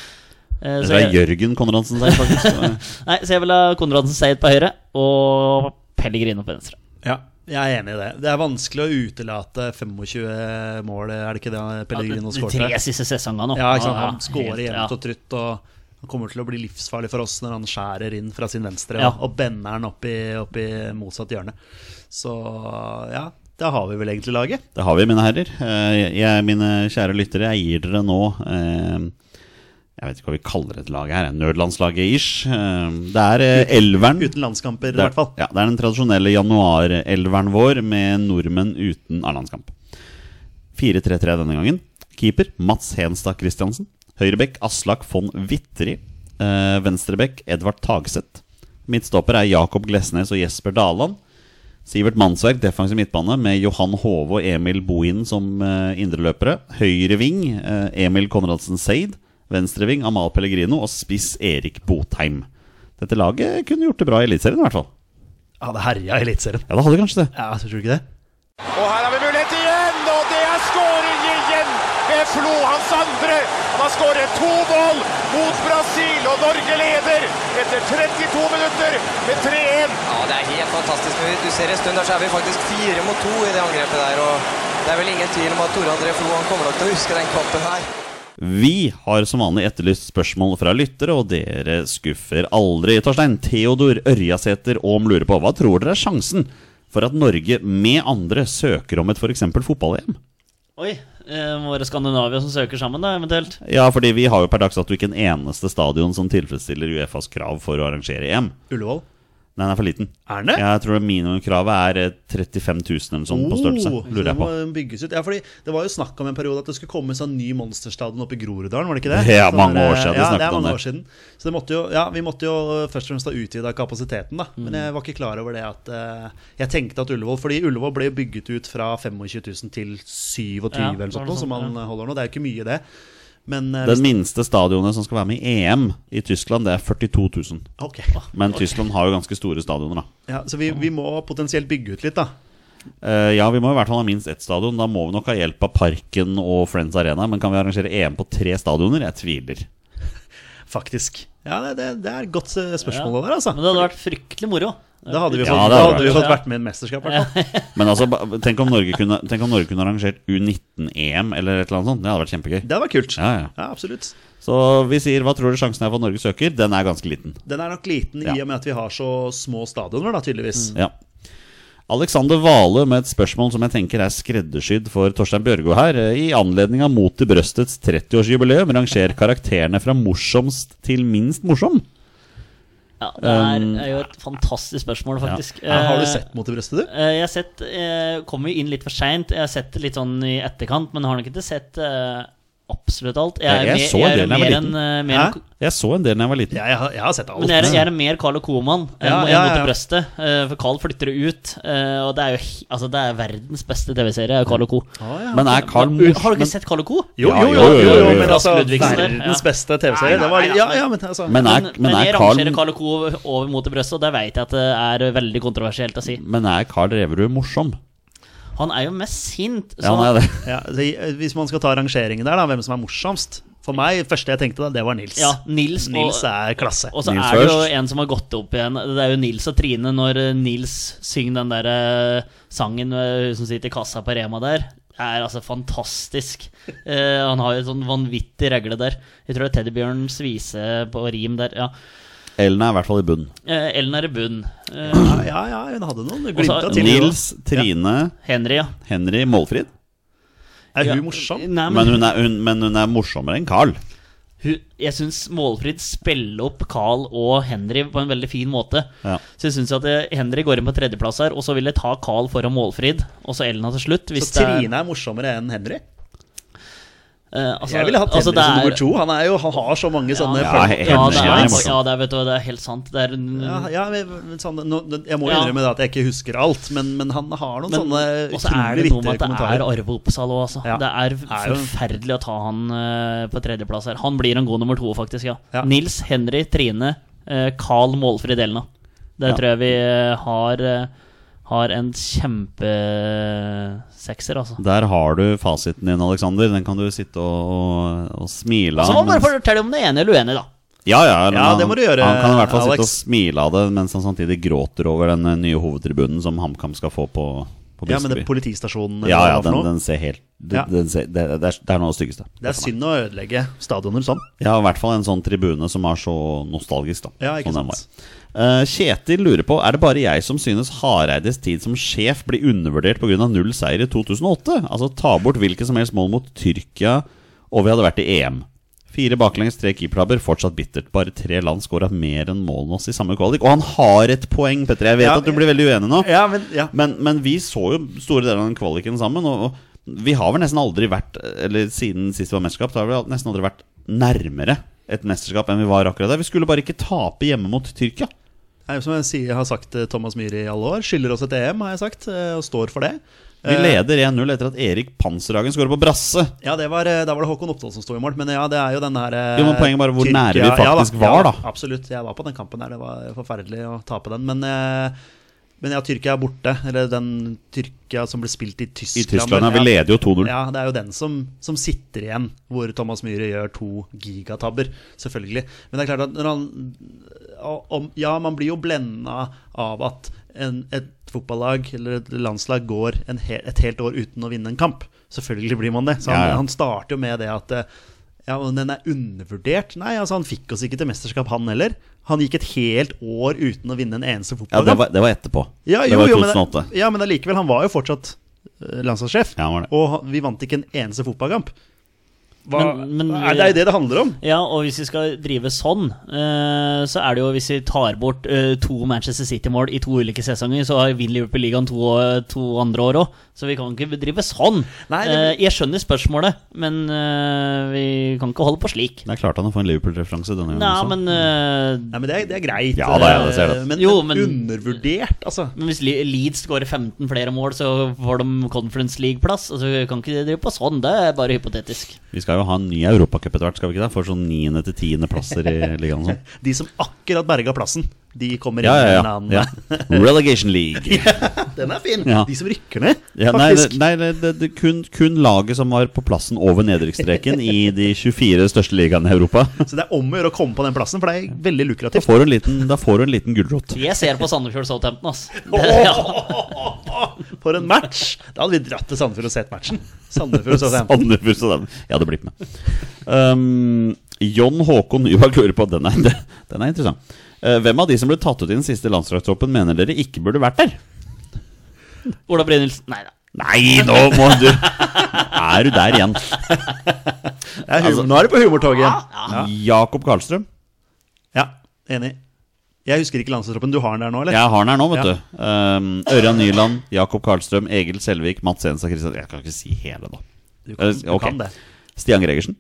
S3: Eh,
S1: Eller
S3: så
S1: det er
S3: jeg-
S1: Jørgen Konradsen der, faktisk.
S3: Nei, så jeg vil ha Konradsen Seid på høyre og Pellegrino på venstre.
S2: Ja, jeg er enig i det. Det er vanskelig å utelate 25 mål, er det ikke det Pellegrino
S3: de
S2: skårte?
S3: tre siste sesongene nå.
S2: Ja, ikke sant?
S3: Ja,
S2: Han skårer
S3: helt, ja.
S2: jevnt og trutt. og han kommer til å bli livsfarlig for oss når han skjærer inn fra sin venstre
S3: Ja.
S2: og, og bender den opp i, opp i motsatt hjørne. Så ja, da har vi vel egentlig laget.
S1: Det har vi, mine herrer. Eh, Jeg, mine kjære lyttere, jeg gir dere nå eh, Jeg vet ikke hva vi kaller et lag her. Nødlandslaget ish. Eh, Det er eh, elveren.
S2: Uten landskamper, i
S1: Det er-
S2: hvert fall.
S1: Ja, det er den tradisjonelle januarelveren vår med nordmenn uten A-landskamp. 4-3-3 denne gangen. Keeper Mats Henstad Christiansen. Høyrebekk Aslak von Witteri. Eh, Venstrebekk Edvard Tagseth. Midtstopper er Jakob Glesnes og Jesper Daland. Sivert Mannsverk, defensiv midtbane, med Johan Hove og Emil Bohinen som eh, indreløpere. Høyreving eh, Emil Konradsen Seid. Venstreving Amal Pellegrino og spiss Erik Botheim. Dette laget kunne gjort det bra i Eliteserien, i hvert fall.
S2: Ja, det herja i Eliteserien.
S1: Ja, det hadde kanskje det.
S2: Ja, tror du ikke det?
S4: Og her har vi mulighet igjen, og det er skåring igjen med Flo, hans andre. Han har skåret to mål mot Brasil, og Norge leder etter 32 minutter med 3-1.
S5: Ja, det er helt fantastisk. Men Du ser en stund der så er vi faktisk fire mot to i det angrepet der. Og det er vel ingen tvil om at Tore André Flo han kommer nok til å huske den kampen her.
S1: Vi har som vanlig etterlyst spørsmål fra lyttere, og dere skuffer aldri. Torstein, Theodor Ørjasæter Aam lurer på hva tror dere er sjansen for at Norge med andre søker om et f.eks. fotball-EM?
S3: Oi, eh, må være Skandinavia som søker sammen, da, eventuelt.
S1: Ja, fordi vi har jo per dags dato ikke en eneste stadion som tilfredsstiller Uefas krav for å arrangere EM.
S2: Ullevål?
S1: Nei, den er for liten.
S2: Er den det?
S1: Jeg tror minimumkravet er eh, 35 000 eller sånn på størrelse,
S2: Oh,
S1: lurer jeg på.
S2: så det må bygges ut. Ja, fordi Det var jo snakk om en periode at det skulle komme en sånn ny monsterstadion oppe i Groruddalen, var det ikke det?
S1: Ja,
S2: Sånn
S1: mange
S2: der,
S1: år siden de
S2: ja, det
S1: snakket
S2: er
S1: om
S2: mange
S1: det.
S2: år siden. Så det måtte jo, ja, vi måtte jo først og fremst ha utvida kapasiteten,
S1: Mm.
S2: da. Men jeg var ikke klar over det at eh, Jeg tenkte at Ullevål Fordi Ullevål ble jo bygget ut fra 25 000 til 27 000
S3: Ja,
S2: eller
S3: var
S2: sånt,
S3: det
S2: noe, som
S3: sånn,
S2: man holder nå. Det er jo ikke mye, det. Men eh, hvis,
S1: Den minste stadionet som skal være med i EM i Tyskland, det er 42 000.
S2: ok.
S1: Men Tyskland har jo ganske store stadioner, da.
S2: ja, Så vi, vi må potensielt bygge ut litt, da.
S1: Eh, ja, vi må i hvert fall ha minst ett stadion. Da må vi nok ha hjelp av Parken og Friends Arena. Men kan vi arrangere EM på tre stadioner? Jeg tviler.
S2: Faktisk. Ja, det, det, det er et godt eh, spørsmål det der, altså.
S3: Men det hadde vært fryktelig moro.
S2: Da hadde vi
S1: Ja,
S2: fått,
S1: det
S2: da
S1: hadde
S2: hadde vi
S3: vært-
S2: fått vært med i en mesterskap, i hvert fall.
S1: Men altså, ba- tenk om Norge kunne, tenk om Norge kunne arrangert U19-EM eller et eller annet sånt. Det hadde vært kjempegøy.
S2: Det hadde vært kult.
S1: Ja, ja.
S2: Ja, absolutt.
S1: Så vi sier hva tror du sjansen er for at Norge søker? Den er ganske liten.
S2: Den er nok liten i
S1: Ja.
S2: og med at vi har så små stadioner, da, tydeligvis.
S3: Mm.
S1: Ja. Alexander Vale med et spørsmål som jeg tenker er skreddersydd for Torstein Bjørgo her. Eh, I anledning av Mot i brøstets 30-årsjubileum ranger karakterene fra morsomst til minst morsom.
S3: Ja, det er, er jo et fantastisk spørmål, faktisk.
S2: Um, Ja, har du
S3: Eh,
S2: sett Mot i brøstet, du?
S3: Eh, Jeg har sett eh, Kommer jo inn litt for seint. Jeg har sett det litt sånn i etterkant, men har nok ikke sett eh, absolutt alt.
S1: Jeg- jeg
S3: mer-
S1: så
S3: er
S1: en del da jeg var
S3: mer
S1: liten.
S3: en, eh, mer
S2: Hæ?
S3: en,
S1: Jeg så en del da jeg var liten.
S2: Ja, jeg, har- jeg har sett alt.
S3: men jeg er, jeg er en mer Carl og Koman enn
S2: Ja,
S3: enn
S2: ja,
S3: mot
S2: ja.
S3: det brøstet. eh, For Carl flytter det ut. eh, Og det er jo he- altså, det er verdens beste TV-serie, er Carl og Co.
S2: Å, ja.
S1: Men er Carl
S3: Men, Har du
S1: morsom?
S3: ikke sett Carl og Co?
S2: jo,
S1: Ja,
S2: jo, jo, jo, jo,
S1: jo, jo.
S2: men altså
S3: Ludvigsen der,
S2: Verdens
S3: ja.
S2: beste TV-serie. Det var Ja, ja, men altså
S1: Men er,
S3: Men,
S1: men
S3: men
S1: er
S3: jeg
S1: Carl,
S3: rangerer Carl og Co over mot det brøstet, og det veit jeg at det er veldig kontroversielt å si.
S1: men er Carl Reverud morsom?
S3: Han er jo mest sint. Så
S1: Ja, han er det.
S2: ja, så, Hvis man skal ta rangeringen der, da, hvem som er morsomst For meg, det første jeg tenkte, da, det var Nils.
S3: Ja, Nils og-
S2: Nils er klasse.
S3: Og så
S1: Nils
S3: er det jo
S1: først.
S3: en som har gått opp igjen. Det er jo Nils og Trine når eh, Nils synger den der eh, sangen eh, hun som sitter i kassa på Rema der. Det er altså fantastisk. Eh, han har jo et sånn vanvittig regle der. Jeg tror det er Teddybjørns vise på rim der. Ja.
S1: Ellen er i hvert fall i bunn.
S3: Eh, Ellen er i bunn. Eh,
S2: Ja, ja, ja, hun hadde noen glimt av
S3: Og så-
S2: tidligere.
S1: Nils, Trine,
S3: Henry, ja.
S1: Henry, Målfrid.
S2: Er hun
S3: Ja.
S2: morsom?
S3: Nei, men,
S1: Men hun er, hun, men hun er morsommere enn Carl.
S3: hun, jeg syns Målfrid spiller opp Carl og Henry på en veldig fin måte.
S1: Ja.
S3: Så jeg syns at eh, Henry går inn på tredjeplass her, og så vil jeg ta Carl foran Målfrid, og så Elna til slutt. Hvis
S2: Så
S3: det er-
S2: Trine er morsommere enn Henry?
S3: Eh, altså-
S2: Jeg ville hatt
S3: altså,
S2: Henry
S3: det
S2: som
S3: er-
S2: nummer to. Han, er jo, han har så mange sånne
S1: Ja,
S2: fun-
S1: he-
S3: Ja, det
S1: Henry er
S3: er,
S1: morsom.
S3: ja det, er, vet du, hva, det er helt sant. Det er en,
S2: Ja, ja, men, men sånn, nå, jeg må jo
S3: Mm. Ja.
S2: innrømme det at jeg ikke husker alt, men, men han har noen
S3: men
S2: sånne
S3: også er det
S2: utrolig
S3: noe med
S2: vittige
S3: at det er
S2: kommentarer.
S3: Arve Oppsal òg, altså.
S2: Ja.
S3: Det er
S2: jo-
S3: forferdelig å ta han eh, på tredjeplass her. Han blir en god nummer to, faktisk. ja,
S2: Ja.
S3: Nils, Henry, Trine, eh, Carl Målfrid Elna. Der
S1: Ja.
S3: tror jeg vi eh, har, eh, har en kjempesekser, altså.
S1: Der har du fasiten din, Alexander. Den kan du sitte og, og smile
S3: Så
S1: av.
S3: må du bare
S1: mens-
S3: fortelle om det er enig eller uenig, da.
S1: Ja, ja, men
S2: Ja,
S1: han-
S2: det må du gjøre,
S1: Han kan i hvert fall sitte og
S2: Alex.
S1: smile av det mens han samtidig gråter over den eh, nye hovedtribunen som HamKam skal få på, på
S2: Ja, men det
S1: Briskeby.
S2: er politistasjonen eller
S1: Ja,
S2: hva det
S1: ja,
S2: var
S1: den,
S2: for noe.
S1: den ser helt den,
S2: Ja.
S1: den ser, det, det, er, det er noe av det styggeste.
S2: Det er synd å ødelegge stadioner sånn.
S1: Ja, i hvert fall en sånn tribune som er så nostalgisk, da.
S2: Ja, ikke
S1: sånn den
S2: sant.
S1: var. Eh, Kjetil lurer på Er det bare jeg som synes Hareides tid som sjef blir undervurdert pga. null seier i 2008? Altså ta bort hvilket som helst mål mot Tyrkia, og vi hadde vært i EM. Fire baklengs, tre keepertabber, fortsatt bittert. Bare tre land skåra mer enn målene oss i samme kvalik. Og han har et poeng, Petter. Jeg vet
S2: Ja,
S1: at du blir veldig uenig nå.
S2: Ja, men ja.
S1: Men, men vi så jo store deler av den kvaliken sammen. Og, og vi har vel nesten aldri vært Eller siden sist det var mesterskap, så har vi al- nesten aldri vært nærmere et mesterskap enn vi var akkurat der. Vi skulle bare ikke tape hjemme mot Tyrkia.
S2: Nei, Som jeg sier, har sagt til Thomas Myhre i alle år, skylder oss et EM, har jeg sagt, eh, og står for det.
S1: Vi leder 1-0 etter at Erik Panserhagen skårer på brasse.
S2: Ja, det var, eh, Da var det Håkon Oppdal som sto i mål, men ja, det er jo den her eh,
S1: Jo, men poenget bare hvor nære vi faktisk
S2: ja,
S1: var, da.
S2: Absolutt. Jeg var på den kampen der. Det var forferdelig å tape den. Men, eh, men ja, Tyrkia er borte. Eller den Tyrkia som ble spilt i
S1: I
S2: Tyskland.
S1: Tyskland ja,
S2: ja.
S1: vi leder jo 2-0.
S2: Ja, det er jo den som, som sitter igjen, hvor Thomas Myhre gjør to gigatabber, selvfølgelig. Men det er klart at når han om, Ja, man blir jo blenda av at en, et fotballag eller et landslag går en hel, et helt år uten å vinne en kamp. Selvfølgelig blir man det. Så han,
S1: Ja, ja.
S2: han starter jo med det at eh, ja, men den er undervurdert. Nei, altså han fikk oss ikke til mesterskap, han heller. Han gikk et helt år uten å vinne en eneste
S1: Ja, det
S2: fotballkamp.
S1: var, det var etterpå.
S2: Ja,
S1: det
S2: jo,
S1: var i
S2: jo, men-
S1: 2008.
S2: Ja, men allikevel, han var jo fortsatt eh, landslagssjef.
S1: Ja, han var det.
S2: Og han- vi vant ikke en eneste fotballkamp. Hva,
S3: Men- men-
S2: Nei, det er jo det det handler om.
S3: Ja, og hvis vi skal drive sånn, eh, så er det jo hvis vi tar bort eh, to Manchester City-mål i to ulike sesonger, så har vinner Liverpool ligaen to, to andre år òg. Så vi kan ikke bedrive sånn.
S2: Nei, det-
S3: Eh, jeg skjønner spørsmålet, men eh, vi kan ikke holde på slik.
S1: Det er klart han har fått en Liverpool-referanse denne gangen
S3: Nei,
S2: sånn.
S1: også.
S3: men eh,
S2: Nei, men det er, det er greit.
S1: Ja, da, ja, det ser jeg.
S2: Eh, Men,
S3: Jo,
S2: men
S3: men-
S2: undervurdert, altså.
S3: Men hvis Le- Leeds skårer 15 flere mål, så får de Conference League-plass. Altså, vi kan ikke drive på sånn, det er bare hypotetisk.
S1: Vi skal jo ha en ny europacup etter hvert, skal vi ikke det? For sånn 9. til 10. plasser i ligaen og sånn.
S2: De som akkurat berga plassen, de kommer inn
S1: Ja,
S2: med
S1: ja,
S2: en
S1: ja.
S2: annen.
S1: ja. Relegation League.
S2: Den er fin!
S1: Ja.
S2: De som rykker ned,
S1: Ja, nei,
S2: faktisk.
S1: det, nei det, det, det, kun, kun laget som var på plassen over nedrykksstreken i de 24 største ligaene i Europa.
S2: Så det er om å gjøre å komme på den plassen, for det er veldig
S1: Da
S2: lukrativt.
S1: får du en liten, da får du en liten gulrot.
S3: Jeg ser på Sandefjord Southampton, ass. Det, ja.
S2: Åh, For en match! Da hadde vi dratt til Sandefjord og sett matchen. Sandefjord og Southampton.
S1: Sandefjord og dem. Jeg hadde blitt med. Um, John Håkon Nyberg lurer på Den er, den er interessant. Eh, hvem av de som ble tatt ut i den siste landslagstroppen, mener dere ikke burde vært der?
S3: Ola Brynildsen Nei da.
S1: Nei, nå må du Er du der igjen?
S2: Det er
S1: Altså,
S2: humor. Nå er det på humortoget igjen.
S1: Jakob Karlstrøm.
S2: Ja, enig. Jeg husker ikke landslagstroppen. Du har den der nå, eller?
S1: Jeg har den her nå, vet
S2: Ja.
S1: du. Um, Ørjan Nyland, Jakob Karlstrøm, Egil Selvik, Mats Jensa Kristiansen Jeg kan ikke si hele, da.
S2: Du kan, du
S1: Eh, Ok.
S2: kan det.
S1: Stian Gregersen,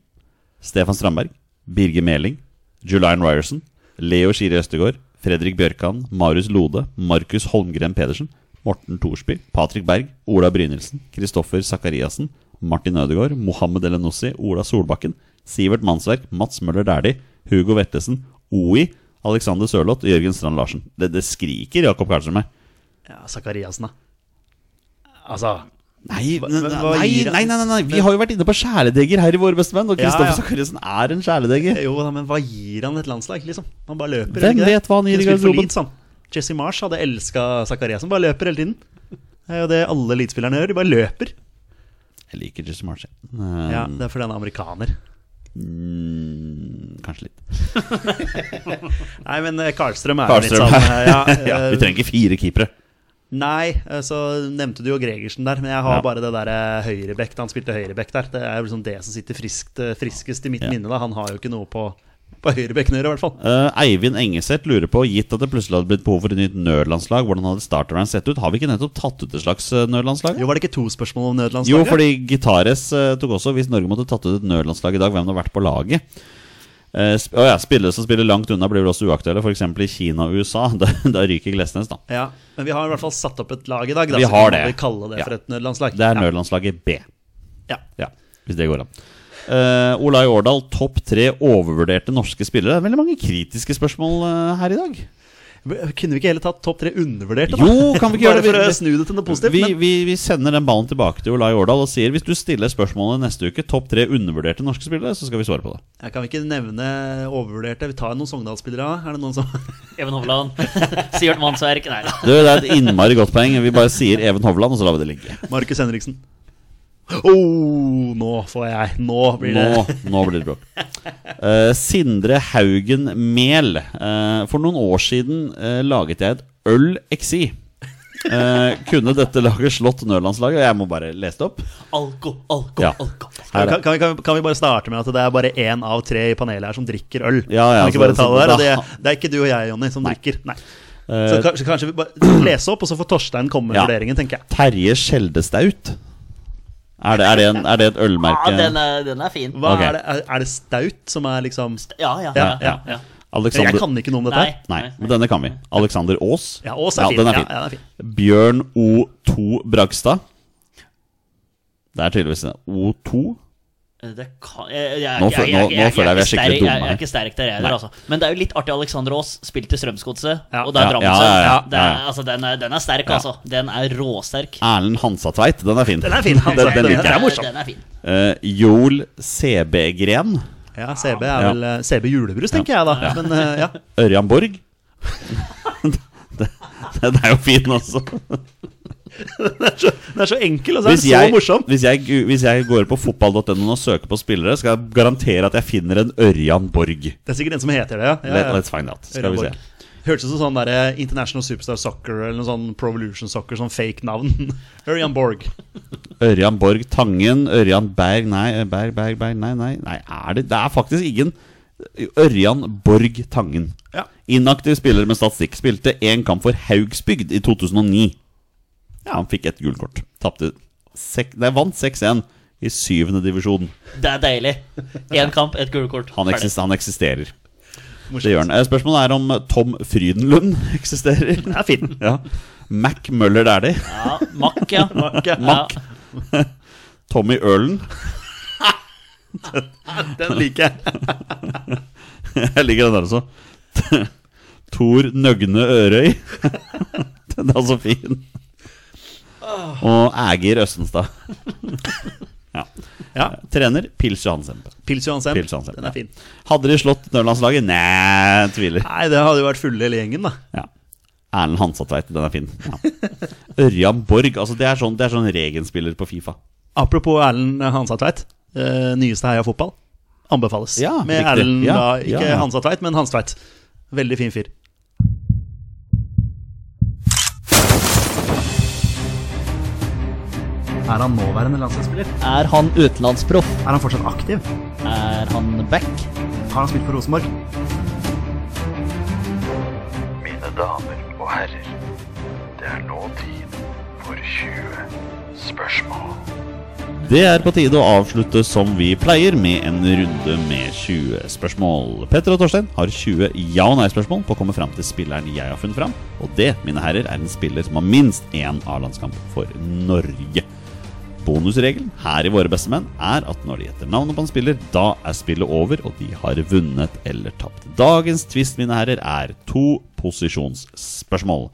S1: Stefan Strandberg, Birger Meling, Julian Ryerson, Leo Skiri Østegård, Fredrik Bjørkan, Marius Lode, Markus Holmgren Pedersen, Morten Thorsby, Patrik Berg, Ola Brynildsen, Kristoffer Sakariassen, Martin Ødegaard, Mohammed Elenossi, Ola Solbakken, Sivert Mannsverk, Mats Møller Dæhlie, Hugo Vettesen, OI, Alexander Sørloth og Jørgen Strand Larsen. Det, det skriker Jakob Karlsen meg.
S2: Ja, Zakariassen, da. Altså
S1: Nei,
S2: Hva-
S1: nei,
S2: hva- hva
S1: nei,
S2: gir han?
S1: nei, nei, nei, vi har jo vært inne på kjæledegger her i Våre bestemenn, og
S2: Ja,
S1: Kristoffer
S2: ja.
S1: Sakariassen er en kjæledegger.
S2: Eh, Jo da, men hva gir han et landslag, liksom? Han bare løper.
S1: Hvem
S2: eller ikke det?
S1: vet hva han gir i
S2: Kunne spilt for
S1: garderoben?
S2: Leeds, han. sånn. Jesse Marsh hadde elska Zakariassen. Bare løper hele tiden. Det er jo det alle Leeds-spillerne gjør. De bare løper.
S1: Jeg liker Eh, Jesse Marsh. jeg.
S2: Ja, Det er fordi han er amerikaner.
S1: Mm, kanskje litt.
S2: Nei, men eh, Karlstrøm er jo litt
S1: Karlstrøm.
S2: sånn eh, ja,
S1: ja,
S2: eh,
S1: vi trenger ikke fire keepere.
S2: Nei, eh, så nevnte du jo Gregersen der, men jeg har
S1: Ja.
S2: bare det der eh, høyrebekk da han spilte høyrebekk der. Det er jo liksom det som sitter friskt, eh, friskest i mitt
S1: Ja.
S2: minne. da Han har jo ikke noe på, på høyrebekken å gjøre, i hvert fall.
S1: Eh, Eivind Engeseth lurer på, gitt at det plutselig hadde blitt behov for et nytt nødlandslag, hvordan hadde starteren sett ut? Har vi ikke nettopp tatt ut et slags eh, nødlandslag?
S2: Jo, Var det ikke to spørsmål om
S1: Jo,
S2: nødlandslaget?
S1: fordi Gitares eh, tok også Hvis Norge måtte tatt ut et nødlandslag i dag, hvem hadde vært på laget? Eh, sp å ja, Spillere som spiller langt unna, blir vel også uaktuelle, f.eks. i Kina og USA. Da, da ryker Glesnes, da.
S2: Ja, men vi har i hvert fall satt opp et lag i dag. Da,
S1: Vi
S2: så
S1: har
S2: kan
S1: det.
S2: Vi kalle det
S1: Ja.
S2: for et nødlandslag.
S1: Det er
S2: ja.
S1: nødlandslaget B.
S2: Ja.
S1: Ja, hvis det går an. Eh, Olai Årdal, topp tre overvurderte norske spillere. Det er veldig mange kritiske spørsmål eh, her i dag.
S2: Kunne vi ikke heller tatt topp tre undervurderte? da?
S1: Jo, kan vi ikke
S2: Bare
S1: gjøre det?
S2: for å snu det til noe positivt.
S1: Vi,
S2: men
S1: vi, vi sender den ballen tilbake til Olai Årdal og sier hvis du stiller spørsmålet neste uke, topp tre undervurderte norske spillere, så skal vi svare på det.
S2: ja, kan vi ikke nevne overvurderte? Vi tar noen Sogndal-spillere av. Er det noen som
S3: Even Hovland. Sivert Mannsverk. Nei da.
S1: Du, det er et innmari godt poeng. Vi bare sier Even Hovland, og så lar vi det ligge.
S2: Markus Henriksen. Oh, nå får jeg Nå blir det
S1: Nå, nå blir det bråk. Eh, Sindre Haugen Mehl. Eh, for noen år siden eh, laget jeg et øl XI. Eh, kunne dette laget slått Nørlandslaget? Og jeg må bare lese det opp.
S3: Alko, alko,
S1: Ja.
S3: alko.
S1: Her,
S2: kan, kan, vi- kan, vi- kan vi bare starte med at det er bare én av tre i panelet her som drikker øl?
S1: Ja, ja,
S2: kan vi ikke bare ta
S1: så- så
S2: det der? Og
S1: da-
S2: Det, det er ikke du og jeg, Jonny, som
S1: Nei.
S2: drikker. Nei.
S1: eh,
S2: Så kanskje, kanskje vi bare lese opp, og så får Torstein komme med
S1: Ja.
S2: vurderingen, tenker jeg.
S1: Terje Skjeldestaut. Er det, er det, en, er det et ølmerke?
S3: Ja, den er, den er fin.
S2: Hva
S1: Ok.
S2: er, det, er, er det staut som er liksom
S3: Ja, ja.
S2: Ja, ja.
S3: ja.
S1: Alexander...
S2: Jeg kan ikke noe om dette.
S3: Nei.
S2: her.
S1: Nei, men denne kan vi. Alexander Aas.
S2: Ja, Ås er fin.
S1: den er
S2: Ja,
S1: fin.
S2: ja, den er fin.
S1: Bjørn O2 Bragstad. Det er tydeligvis en O2.
S3: Eh, Det kan, jeg, jeg, jeg,
S1: Nå føl-
S3: jeg, jeg,
S1: nå- nå føler jeg vi er skikkelig
S3: sterk-
S1: dumme
S3: Jeg, jeg
S1: her.
S3: er ikke sterk der
S1: Nei.
S3: heller, altså. Men det er jo litt artig. Alexander Aas spilte Strømsgodset,
S2: Ja.
S3: og det er
S1: Ja,
S3: Drammen.
S1: ja, ja, ja,
S3: Det er-
S1: ja, ja.
S3: altså, den, er- den er sterk, altså. Den er råsterk.
S1: Erlend Hansatveit. Den er fin.
S2: Den er fin. Han,
S1: Den- den liker
S2: Den
S1: jeg.
S2: er morsom.
S3: Den er fin.
S1: Eh, Joel CB-gren.
S2: Ja, CB er vel eh, CB julebrus, tenker jeg da. Men eh, ja.
S1: Ørjan Borg. Den er jo fin også.
S2: Den er så enkel, og så er den så morsom.
S1: hvis, jeg, gu- hvis jeg går på fotball.no og søker på spillere, skal jeg garantere at jeg finner en Ørjan Borg.
S2: Det er sikkert en som heter det, ja.
S1: Let,
S2: ja,
S1: let's find out.
S2: ja.
S1: Skal vi se.
S2: Hørtes ut som sånn der eh, International Superstar Soccer eller noe sånn Provolution Soccer, sånn fake navn. Ørjan Borg.
S1: Ørjan Borg Tangen, Ørjan Berg Nei, eh, Berg, Berg, Berg Nei, nei, nei er det, det er faktisk ingen Ørjan Borg Tangen.
S2: Ja.
S1: Inaktiv spiller med statistikk. Spilte én kamp for Haugsbygd i 2009. Han fikk ett gult kort. Tapte sek, Nei, vant 6-1 i syvende divisjon.
S3: Det er deilig. Én kamp, ett gullkort.
S1: Han,
S3: Ferdig.
S1: eksis, han eksisterer. Det gjør han. Eh, Spørsmålet er om Tom Frydenlund eksisterer.
S2: Det er fin.
S1: Ja. Mac Møller Dæhlie.
S3: Ja, Mack, ja.
S2: ja.
S1: Mack. Tommy Ølen.
S2: Den liker jeg.
S1: Jeg liker den der også. Tor Nøgne Ørøy. Den er så fin. Og Ægir Østenstad. Ja.
S2: Ja.
S1: Trener Pils Johansen.
S2: Pils Johan Sem.
S1: Pils Johansen,
S2: Den
S1: ja.
S2: er fin.
S1: Hadde de slått Nørlandslaget? Nei, tviler.
S2: Nei, det hadde jo vært fulle hele gjengen, da.
S1: Ja. Erlend Hansatveit, den er fin. Ja. Ørjan Borg. Altså, det er sånn, det er sånn Regen-spiller på Fifa.
S2: Apropos Erlend Hansa Tveit, eh, nyeste Heia Fotball. Anbefales.
S1: Ja,
S2: Med
S1: riktig.
S2: Erlend,
S1: Ja,
S2: da, ikke
S1: ja.
S2: Hansa Tveit, men Hans Tveit. Veldig fin fyr. Er han nåværende landslagsspiller?
S3: Er han utenlandsproff?
S2: Er han fortsatt aktiv?
S3: Er han back?
S2: Har han spilt for Rosenborg?
S6: Mine damer og herrer, det er nå tid for 20 spørsmål.
S1: Det er på tide å avslutte som vi pleier, med en runde med 20 spørsmål. Petter og Torstein har 20 ja- og nei-spørsmål på å komme fram til spilleren jeg har funnet fram. Og det, mine herrer, er en spiller som har minst én A-landskamp for Norge. Bonusregelen her i Våre beste menn er at når de gjetter navnet på en spiller, da er spillet over, og de har vunnet eller tapt. Dagens twist, mine herrer, er to posisjonsspørsmål.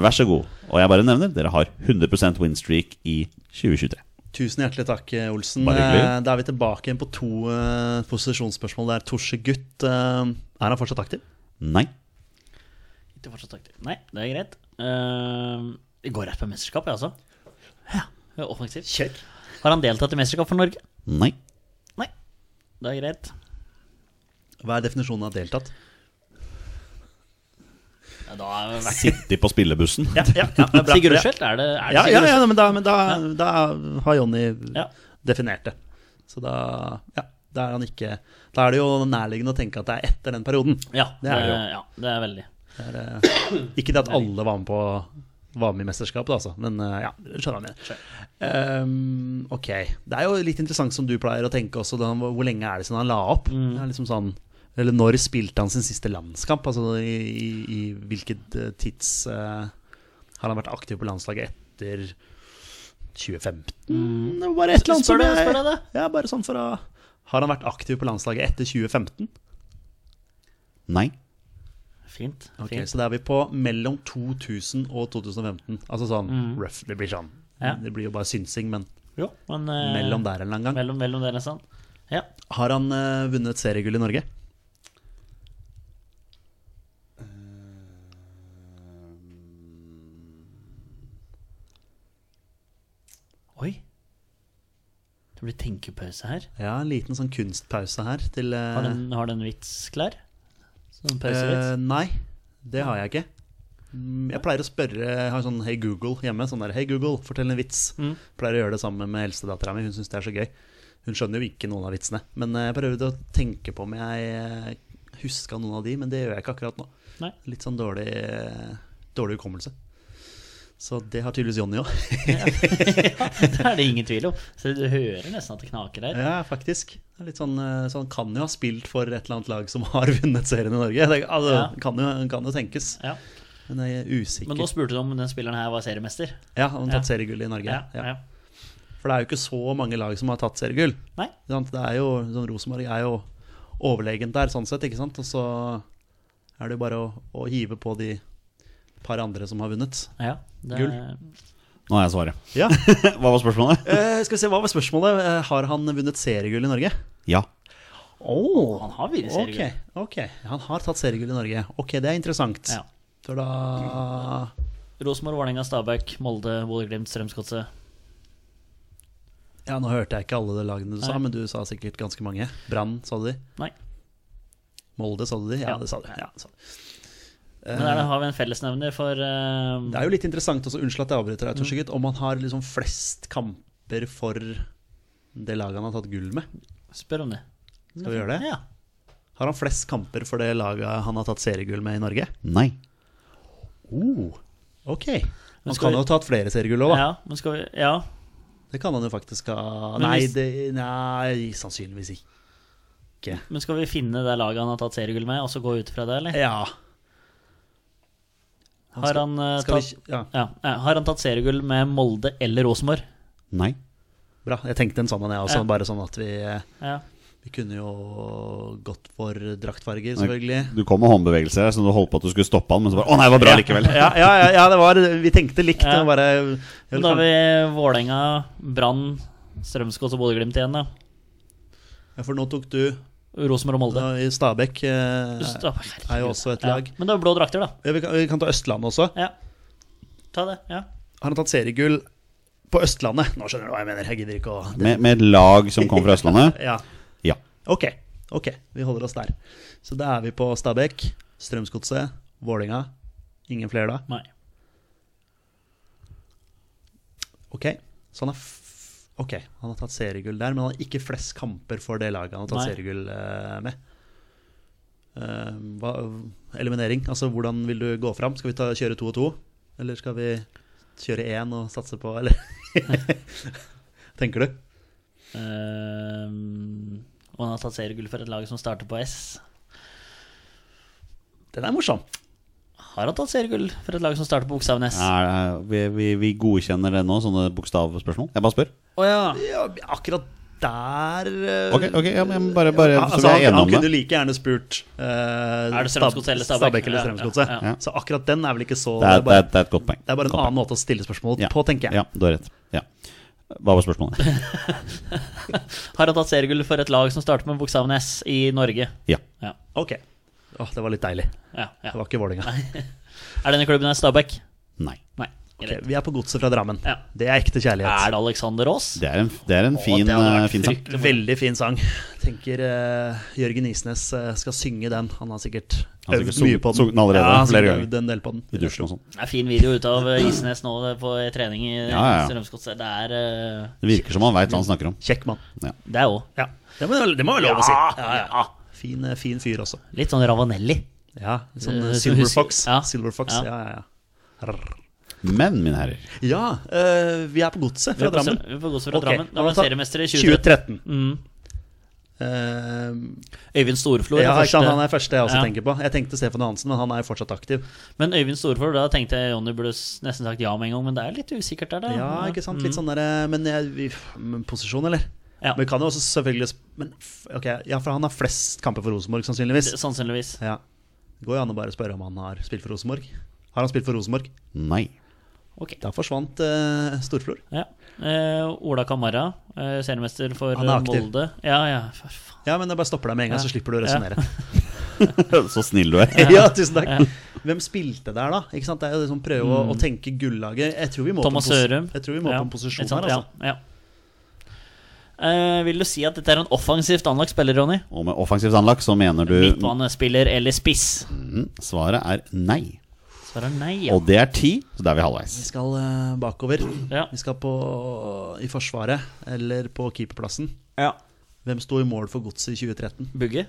S1: Vær så god. Og jeg bare nevner, dere har 100 win streak i 2023.
S2: Tusen hjertelig takk, Olsen.
S1: Bare hyggelig.
S2: Eh, Da er vi tilbake igjen på to eh, posisjonsspørsmål der. Torse Gutt, eh, er han fortsatt aktiv?
S1: Nei.
S3: Ikke fortsatt aktiv. Nei, det er greit. Ehm, Vi går rett på mesterskap, jeg, altså. Ja, offensivt. Kjør. Har han deltatt i mesterskap for Norge?
S1: Nei.
S3: Nei. Det er greit.
S2: Hva er definisjonen av deltatt?
S3: Ja, da er vi vekk.
S1: Sitte på spillebussen.
S2: Ja, ja, ja, det er bra.
S3: Sigurd Rushfeldt, er det, er det
S2: Ja, ja,
S3: Sigurd
S2: ja,
S3: Rushfeldt?
S2: men da, men da, da har Jonny
S3: Ja.
S2: definert det. Så da ja, da er han ikke Da er det jo nærliggende å tenke at det er etter den perioden.
S3: Ja,
S2: Det er
S3: det er,
S2: det jo.
S3: ja, det er veldig.
S2: Ikke det at alle var med på var med i mesterskapet, altså. Men eh, ja, skjønner hva jeg mener. Um, ok. Det er jo litt interessant som du pleier å tenke også, da, hvor lenge er det siden han la opp?
S3: Mm.
S2: Det er liksom sånn, eller når spilte han sin siste landskamp? Altså i, i, i hvilket eh, tids eh, Har han vært aktiv på landslaget etter 2015? Det var bare et eller annet
S3: Mm. Spør
S2: som
S3: deg-
S2: jeg-
S3: spør deg det.
S2: Ja, bare sånn for å Har han vært aktiv på landslaget etter 2015?
S1: Nei.
S3: Fint. fint.
S2: Ok, Så da er vi på mellom 2000 og 2015. Altså sånn rough. Det blir sånn.
S3: Mm. Ja.
S2: Det blir jo bare synsing, men
S3: Jo, men eh,
S2: mellom der en eller annen gang.
S3: Mellom, mellom der, nesten. Ja.
S2: Har han eh, vunnet seriegull i Norge?
S3: Oi. Det blir tenkepause her.
S2: Ja, en liten sånn kunstpause her til eh,
S3: Har den, har den vits klar? Sånn
S2: eh,
S3: pausevits?
S2: Nei, det har jeg ikke. Mm, Jeg pleier å spørre Jeg har sånn Hei Google hjemme. Sånn der, Hei Google, fortell en vits.
S3: Mm.
S2: Pleier å gjøre det sammen med eldstedattera mi. Hun syns det er så gøy. Hun skjønner jo ikke noen av vitsene. Men eh, jeg prøvde å tenke på om jeg eh, huska noen av de, men det gjør jeg ikke akkurat nå.
S3: Nei.
S2: Litt sånn dårlig, dårlig hukommelse. Så det har tydeligvis Jonny òg.
S3: Det er det ingen tvil om. Så du hører nesten at det knaker der.
S2: Ja, faktisk. Det er Litt sånn, eh, så han kan jo ha spilt for et eller annet lag som har vunnet serien i Norge. Det altså,
S3: Ja.
S2: kan, jo, kan jo tenkes.
S3: Ja.
S2: Men jeg er usikker.
S3: Men nå spurte du om den spilleren her var seriemester.
S2: ja, han har tatt
S3: Ja.
S2: seriegull i Norge.
S3: Ja,
S2: ja.
S3: ja.
S2: For det er jo ikke så mange lag som har tatt seriegull.
S3: Nei.
S2: Ikke sant? Det er jo, sånn Rosenborg er jo overlegent der, sånn sett. ikke sant? Og så er det jo bare å, å hive på de par andre som har vunnet.
S3: Ja, det,
S2: Gull.
S1: Nå har jeg svaret.
S2: Ja,
S1: Hva var spørsmålet?
S2: eh, skal vi se, Hva var spørsmålet? Eh, har han vunnet seriegull i Norge?
S1: Ja.
S2: Oh,
S3: Han har vunnet seriegull.
S2: Ok, ok. Han har tatt seriegull i Norge. Ok, det er interessant.
S3: Ja.
S2: For da
S3: Rosenborg, Vålerenga, Stabæk, Molde, Bodø-Glimt, Strømsgodset.
S2: Ja, nå hørte jeg ikke alle de lagene du sa,
S3: Nei.
S2: men du sa sikkert ganske mange. Brann, sa du de?
S3: Nei.
S2: Molde, sa du de? Ja,
S3: Ja.
S2: det sa du. Ja, sa du.
S3: Men der har vi en fellesnevner for eh,
S2: Eh. Det er jo litt interessant også, unnskyld at jeg avbryter deg, Tor
S3: Mm.
S2: Sigurd, om han har liksom flest kamper for det laget han har tatt gull med.
S3: Spør om det.
S2: Skal vi gjøre det?
S3: Ja.
S2: Har han flest kamper for det laget han har tatt seriegull med i Norge?
S1: Nei.
S2: Oh, ok. Han
S3: skal
S2: kan
S3: vi-
S2: jo ha tatt flere seriegull òg, da.
S3: Ja, men skal vi, ja.
S2: Det kan han jo faktisk ha.
S3: Men
S2: Nei,
S3: hvis-
S2: det, nei sannsynligvis ikke.
S3: Men skal vi finne det laget han har tatt seriegull med, og så gå ut fra det, eller?
S2: Ja.
S3: Har han, eh,
S2: Eh, Skal vi,
S3: tatt,
S2: ikke- ja,
S3: ja, ja, har han tatt seriegull med Molde eller Rosenborg?
S1: Nei.
S2: bra. Jeg tenkte en sånn en, jeg også.
S3: Ja.
S2: Bare sånn at vi,
S3: Ja.
S2: vi kunne jo gått for draktfarger, selvfølgelig.
S1: Du kom med håndbevegelser her, så du holdt på at du skulle stoppe han, men så bare Å nei, det var bra likevel.
S2: Ja, ja, ja, ja det var, vi tenkte likt.
S3: Ja.
S2: det var Bare,
S3: Men Da har vi Vålerenga, Brann, Strømsgodt og Bodø-Glimt igjen, da.
S2: Ja, for nå tok du
S3: Rosenborg og Molde.
S2: da, i Stabæk. eh,
S3: Stabæk,
S2: er jo også et lag.
S3: altså. Ja. Men det var blå drakter, da.
S2: Ja, vi, kan, vi kan ta Østlandet også.
S3: Ja. Ta det. Ja.
S2: Har han tatt seriegull på Østlandet? Nå skjønner du hva jeg mener. Jeg gidder ikke å
S1: Med, med et lag som kom fra Østlandet?
S2: Ja.
S1: Ja.
S2: Ok, ok, vi holder oss der. Så da er vi på Stabæk, Strømsgodset, Vålinga. Ingen flere da?
S3: Nei.
S2: Ok, så han har, f ok, han har tatt seriegull der, men han har ikke flest kamper for det laget han har tatt
S3: Nei.
S2: seriegull eh, med. Eh, hva, eliminering, altså hvordan vil du gå fram? Skal vi ta, kjøre to og to? Eller skal vi kjøre én og satse på, eller? Tenker du?
S3: Ehm, og han har tatt seriegull for et lag som starter på S.
S2: Den er morsom.
S3: Har han tatt seriegull for et lag som starter på bokstaven S? Å
S1: Er, det- vi, vi, vi godkjenner det nå, sånne bokstavspørsmål? Jeg bare spør.
S3: ja.
S2: Ja, akkurat der eh,
S1: Ok, ok, ja, men bare, bare så
S2: altså,
S1: vi
S2: han,
S1: er
S2: han
S1: enige om
S2: kunne
S1: det.
S2: like gjerne spurt eh,
S3: Er det Strømsgodset eller Stabæk?
S2: eller
S3: Ja, ja,
S2: Strømsgodset.
S3: ja,
S1: ja.
S2: Så akkurat den er vel ikke så
S1: Det er, det
S2: bare,
S1: er, det er et godt poeng.
S2: det er bare en
S1: Godt poeng.
S2: annen måte å stille spørsmål
S1: Ja.
S2: på, tenker jeg.
S1: Ja, du har rett. Ja. Hva var spørsmålet?
S3: Har han tatt seriegull for et lag som starter med bokstaven S i Norge?
S1: Ja.
S3: Ja.
S2: Ok. Åh, det var litt deilig.
S3: ja, ja.
S2: Det var ikke Vålerenga.
S3: Er denne klubben her Stabæk?
S1: Nei.
S3: Nei.
S2: Ok, vi er på godset fra Drammen.
S3: Ja.
S2: Det er ekte
S3: Er
S2: kjærlighet.
S3: det Alexander Aas?
S1: Det er en, det er en fin,
S3: det hadde vært
S1: eh, fin sang.
S3: fryktelig moro.
S2: Veldig fin sang. Tenker eh, Jørgen Isnes eh, skal synge den. Han har sikkert
S1: Han har
S2: øvd
S1: sikkert
S2: mye
S1: sunget-
S2: på den.
S1: sunget den allerede,
S2: ja, han har
S1: flere
S2: sikkert
S1: ganger.
S2: øvd en del på den.
S1: I dusjen og sånn.
S3: Det er fin video ut av eh, Isnes nå det er på trening i
S1: ja.
S3: Strømsgodset. Det er eh,
S1: Det virker som han veit hva han snakker om.
S2: Kjekk mann.
S3: Det er òg.
S2: Ja. Det må det må være lov å si. Ja, ja. Fin, eh, fin fyr også.
S3: Litt sånn Ravanelli.
S2: Ja, litt sånn
S3: Eh,
S2: eh,
S3: som
S2: Silver
S3: husker-
S2: Fox.
S3: ja.
S2: Silver Fox,
S3: Ja.
S2: ja, ja, ja. Rrr.
S1: Men, mine herrer
S2: Ja, eh, vi er på godset
S3: Vi
S2: fra
S3: får
S2: Drammen.
S3: gås fra
S2: Ok,
S3: Drammen. Da
S2: han
S3: var
S2: har tatt
S3: seriemester i 2013.
S2: 2013.
S3: Mm.
S2: Eh,
S3: Øyvind Storflor. er
S2: ja, ikke sant,
S3: første.
S2: han er første jeg også
S3: Ja.
S2: tenker på. Jeg tenkte Stefan Johansen, men han er jo fortsatt aktiv.
S3: Men Øyvind Storflor, da tenkte jeg Jonny burde s- nesten sagt ja med en gang, men det er litt usikkert der, da.
S2: Ja, ikke sant? Litt sånn der, eh, men jeg, vi, f- men posisjon, eller?
S3: mm. Ja.
S2: Men vi kan jo også selvfølgelig sp- men, f- ok, Ja, for han har flest kamper for Rosenborg, sannsynligvis.
S3: Sannsynligvis.
S2: Ja. Det går jo an å bare spørre om han har spilt for Rosenborg. Har han spilt for Rosenborg?
S1: Nei.
S3: Ok.
S2: Da forsvant eh, Storflor.
S3: Ja. Eh, Ola Kamara, eh, seriemester for
S2: Han er
S3: eh,
S2: aktiv.
S3: Molde. Ja, ja, for faen.
S2: Ja, men jeg bare stopper deg med en gang,
S3: Ja.
S2: så slipper du å
S3: Ja.
S2: resonnere.
S1: Så snill du er.
S2: Ja, tusen takk. Hvem spilte der, da? Ikke sant? Det er jo liksom prøve å, å tenke gullaget. Jeg tror vi må
S3: Mm. Thomas
S2: på en pos-
S3: Sørum.
S2: Jeg tror vi må på en
S3: ikke
S2: posisjon
S3: sant?
S2: her, altså.
S3: Ja, ja. Eh, vil du si at dette er en offensivt anlagt spiller, Ronny?
S1: Og med offensivt anlagt så mener du
S3: Midtbanespiller eller spiss?
S1: Mm, Svaret er nei.
S3: Svaret er nei, ja.
S1: Og det er ti, så da er vi halvveis.
S2: Vi skal eh, bakover.
S3: Ja.
S2: Vi skal på, i Forsvaret, eller på keeperplassen.
S3: ja.
S2: Hvem sto i mål for godset i 2013?
S3: Bugge?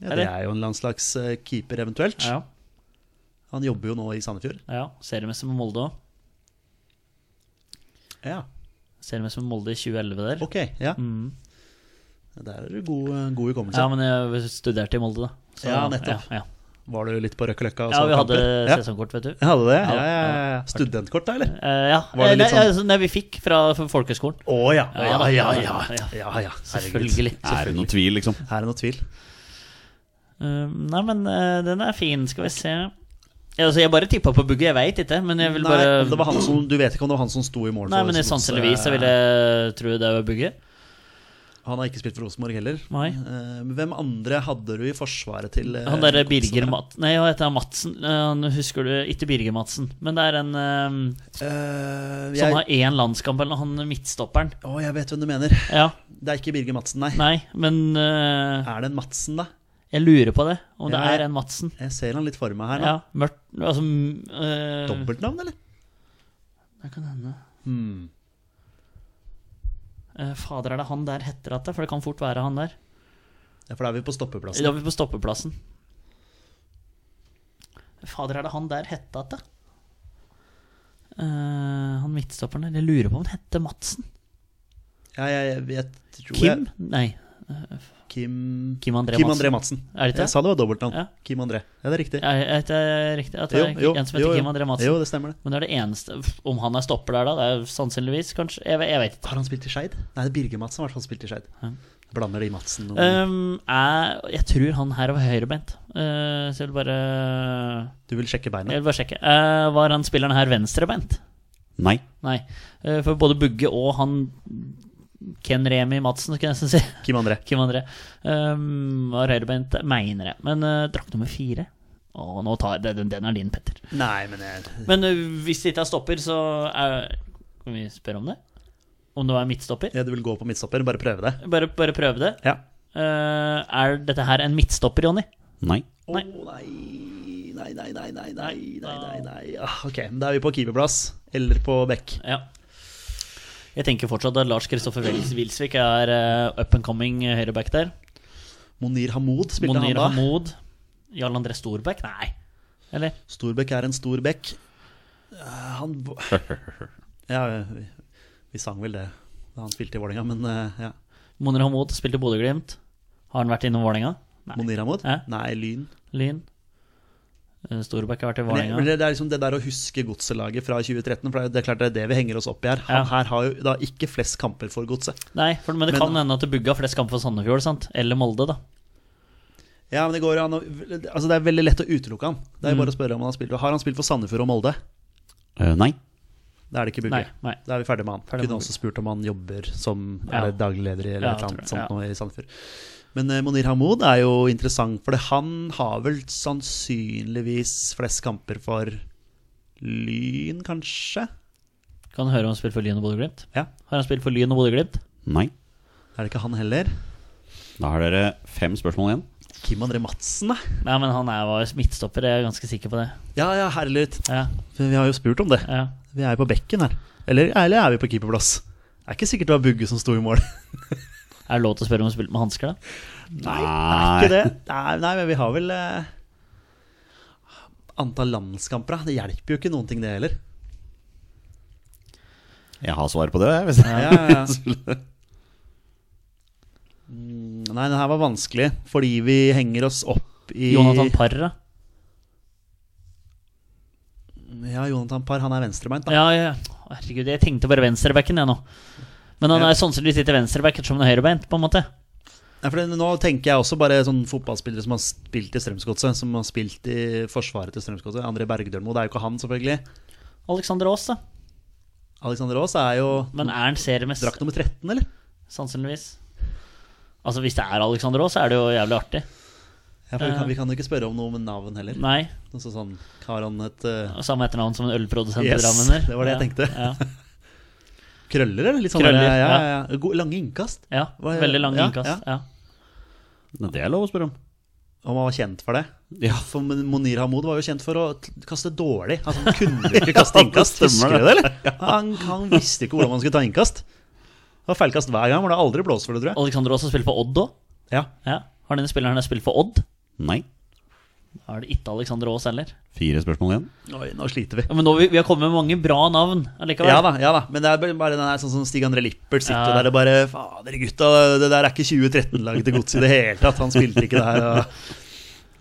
S2: Ja, det
S3: Eller?
S2: er jo en landslags eh, keeper, eventuelt.
S3: Ja.
S2: Han jobber jo nå i Sandefjord.
S3: ja. Seriemester med Molde òg.
S2: Ja,
S3: Seriemester med Molde i 2011 der.
S2: ok. Ja.
S3: Mm.
S2: Der er du god, eh, god hukommelse.
S3: Ja, men jeg studerte i Molde, da. Så-
S2: Ja, nettopp.
S3: Ja, ja.
S2: Var du litt på Røkkeløkka? og
S3: ja
S2: så
S3: vi hadde
S2: kamper? ja.
S3: sesongkort, vet du.
S2: Jeg hadde det? Ja,
S3: Ja,
S2: ja, ja, ja. Studentkort, da, eller?
S3: Eh, ja.
S2: Var det
S3: Eh, nei,
S2: litt sånn-
S3: altså, nei, vi fikk fra fra folkehøgskolen.
S2: Å ja.
S3: Ja,
S2: Ja,
S3: da.
S2: ja, ja. ja, ja. Herregud.
S3: Selvfølgelig.
S1: Er det noen tvil, liksom?
S2: Er det noe tvil?
S3: Eh, nei, men eh, den er fin. Skal vi se ja, altså, Jeg bare tippa på Bugge, jeg veit ikke. Men jeg vil
S2: Nei,
S3: bare
S2: om det var han som, du vet ikke om det var han som sto i mål
S3: Nei, men i sånn
S2: Rosenborg, så- eh,
S3: sanseligvis så vil jeg tro det var Bugge.
S2: Han har ikke spilt for Rosenborg heller.
S3: Nei.
S2: Eh, men hvem andre hadde du i forsvaret til eh,
S3: Han derre
S2: Rosenborg?
S3: Birger Mat... Nei, hva heter han? Madsen? Eh, Han husker du ikke Birger Madsen, men det er en eh,
S2: Eh,
S3: som
S2: jeg,
S3: har én landskamp, eller han midtstopperen.
S2: å, jeg vet hvem du mener.
S3: Ja,
S2: Det er ikke Birger Madsen, nei.
S3: nei, men eh,
S2: Er det en Madsen, da?
S3: jeg lurer på det. Om det
S2: Ja.
S3: er en Madsen.
S2: Jeg ser han litt for meg her nå.
S3: Ja, mørkt Altså uh,
S2: Dobbeltnavn, eller?
S3: Det kan hende.
S2: Hmm.
S3: Eh, fader, er det han der heter at det? For det kan fort være han der.
S2: Ja, for da er vi på
S3: Da
S2: stoppeplassen.
S3: er vi på stoppeplassen. Fader, er det han der hette at det? Eh, han midtstopperen der. Jeg lurer på om han hette Madsen.
S2: Ja, jeg, jeg, jeg tror
S3: Kim?
S2: Jeg,
S3: Nei.
S2: Kim
S3: Kim André
S2: Kim
S3: Madsen.
S2: André Madsen.
S3: Er det ikke?
S2: Jeg sa det var dobbeltnavn.
S3: Ja.
S2: Kim André. Ja, det er riktig.
S3: Er, er det riktig? At det
S2: Jo,
S3: er
S2: jo,
S3: en som
S2: jo, jo.
S3: heter Kim André Madsen?
S2: Jo, det stemmer det.
S3: Men det er det eneste Om han er stopper der, da? Det er Sannsynligvis, kanskje? Jeg, jeg vet ikke.
S2: Har han spilt i Skeid? Nei, det er Birger Madsen som i hvert fall spilt i Skeid. Blander de Madsen og
S3: Um, jeg, jeg tror han her var høyrebeint, Eh, så jeg vil bare
S2: Du vil sjekke
S3: Jeg
S2: beinet?
S3: vil bare sjekke. Eh, var han spilleren her venstrebeint?
S1: Nei.
S3: Nei. Eh, for både Bugge og han Ken Remi Madsen, skulle jeg nesten si.
S2: Kim André.
S3: Kim André. Um, var høyrebeint, mener jeg. Men eh, drakt nummer fire Å, nå tar jeg den. Den er din, Petter.
S2: Nei, men jeg
S3: Men eh, hvis det ikke er stopper, så er, Kan vi spørre om det? Om det var midtstopper?
S2: ja, Du vil gå på midtstopper? Bare prøve det?
S3: Bare, bare prøve det.
S2: Ja.
S3: Eh, er dette her en midtstopper, Jonny?
S1: Nei.
S2: Å
S3: Nei.
S2: nei. Nei, nei, nei, nei, nei, nei, nei, nei. Ah, Ok, da er vi på keeperplass. Eller på bekk.
S3: Ja. Jeg tenker fortsatt at Lars Kristoffer Wils- Wilsvik er eh, up and coming eh, høyreback der.
S2: Monir Hamoud spilte han
S3: Monir
S2: da.
S3: Hamoud. Jarl André Storbekk? Nei. Eller?
S2: Storbekk er en stor bekk. Eh, Han bo- Ja, vi, vi sang vel det da han spilte i Vålerenga, men eh, ja.
S3: Monir Hamoud spilte i Bodø-Glimt. Har han vært innom Vålerenga? Nei.
S2: Monir Hamoud?
S3: Ja.
S2: Nei, Lyn.
S3: Lyn? Eh, Storbekk har vært i
S2: Men jeg- men
S3: Vålerenga.
S2: det, det er liksom det der å huske godselaget fra 2013, for det er- det er klart det er det vi henger oss opp i her. Han
S3: Ja.
S2: her har jo da ikke flest kamper for godset.
S3: Nei, for, men det
S2: Men-
S3: kan hende at det bugga flest kamper for Sandefjord, sant? Eller Molde, da.
S2: Ja, men det går jo an å Altså, det er veldig lett å utelukke han. Det er jo bare å spørre om han har spilt. Har han spilt for Sandefjord og Molde?
S1: Eh, nei.
S2: Da er det ikke Bugge.
S3: Nei, nei.
S2: Da er vi ferdig med han.
S3: Ferdig med
S2: Kunne
S3: Bugge.
S2: også spurt om han jobber som
S3: Ja.
S2: er det daglig leder i eller
S3: Ja,
S2: et eller
S3: jeg tror det,
S2: annet sånt
S3: ja.
S2: nå i Sandefjord. Men eh, Monir Hamoud er jo interessant, for det- han har vel sannsynligvis flest kamper for Lyn, kanskje?
S3: Kan høre om han spilte for Lyn og Bodø-Glimt.
S2: Ja.
S3: Har han spilt for Lyn og Bodø-Glimt?
S1: Nei.
S2: Er det ikke han heller?
S1: Da har dere fem spørsmål igjen.
S2: Kim André Madsen, da?
S3: Nei, men han er, var midtstopper, jeg er ganske sikker på det.
S2: Ja, ja, herlig.
S3: Ja,
S2: For Vi har jo spurt om det.
S3: ja.
S2: Vi er jo på bekken her. Eller, eller er vi på keeperplass? Det er ikke sikkert det var Bugge som sto i mål.
S3: Er det lov til å spørre om han spilte med hansker, da?
S1: Nei.
S2: Ikke det? Nei, nei, men vi har vel eh, antall landskamper. da. Det hjelper jo ikke noen ting, det heller.
S1: Jeg har svaret på det, jeg, hvis
S2: Ja, ja, ja. Mm, Nei, den her var vanskelig, fordi vi henger oss opp i
S3: Jonathan Parra?
S2: Ja, Jonathan Parr. Han er venstrebeint, da.
S3: Ja, ja. Herregud, jeg tenkte bare venstrebacken, jeg nå. Men han
S2: Ja.
S3: er sannsynligvis ikke venstreback ettersom han er høyrebeint, på en måte.
S2: Nei, for det, nå tenker jeg også bare sånn fotballspillere som har spilt i Strømsgodset. Som har spilt i forsvaret til Strømsgodset. André Bergdølmo. Det er jo ikke han, selvfølgelig.
S3: Alexander Aas, da.
S2: Alexander Aas er jo
S3: Men er han seriemester?
S2: drakt nummer 13, eller?
S3: Sannsynligvis. Altså, hvis det er Alexander Aas, så er det jo jævlig artig.
S2: Ja, for vi, kan, vi kan jo ikke spørre om noe med navn heller.
S3: Nei.
S2: Altså sånn, Har han et eh,
S3: Samme etternavn som en ølprodusent
S2: Yes,
S3: i Drammen der.
S2: det var det jeg tenkte.
S3: Ja,
S2: krøller, eller? Litt sånn
S3: Krøller,
S2: ja, ja,
S3: ja.
S2: ja. Go- Lange innkast?
S3: ja. ja.
S2: Hva-
S3: Veldig lang
S2: ja,
S3: innkast. Ja.
S1: Nei, Det er lov å spørre om.
S2: Om han var kjent for det?
S1: Ja.
S2: For men Monir Hamoud var jo kjent for å t- kaste dårlig. Altså, han kunne ikke kaste
S1: det
S2: innkast. Husker
S1: stemmer
S2: du det, eller? Han, han visste ikke hvordan man skulle ta innkast. Det var feilkast hver gang. Var det aldri blåst for det, tror jeg.
S3: Alexander Aas har spilt for Odd òg.
S2: Ja.
S3: Ja. Har denne spilleren her spilt for Odd?
S1: Nei.
S3: Da er det ikke Alexander Aas heller.
S1: Fire spørsmål igjen.
S2: Oi, nå sliter vi.
S3: Ja, men nå, vi, vi har kommet med mange bra navn allikevel.
S2: Ja da, ja da, men det er bare den der sånn som Stig-André Lippert sitter
S3: Ja.
S2: der og bare Fader, gutta, det der er ikke 2013-laget til Godset i det hele tatt. Han spilte ikke det her. Og,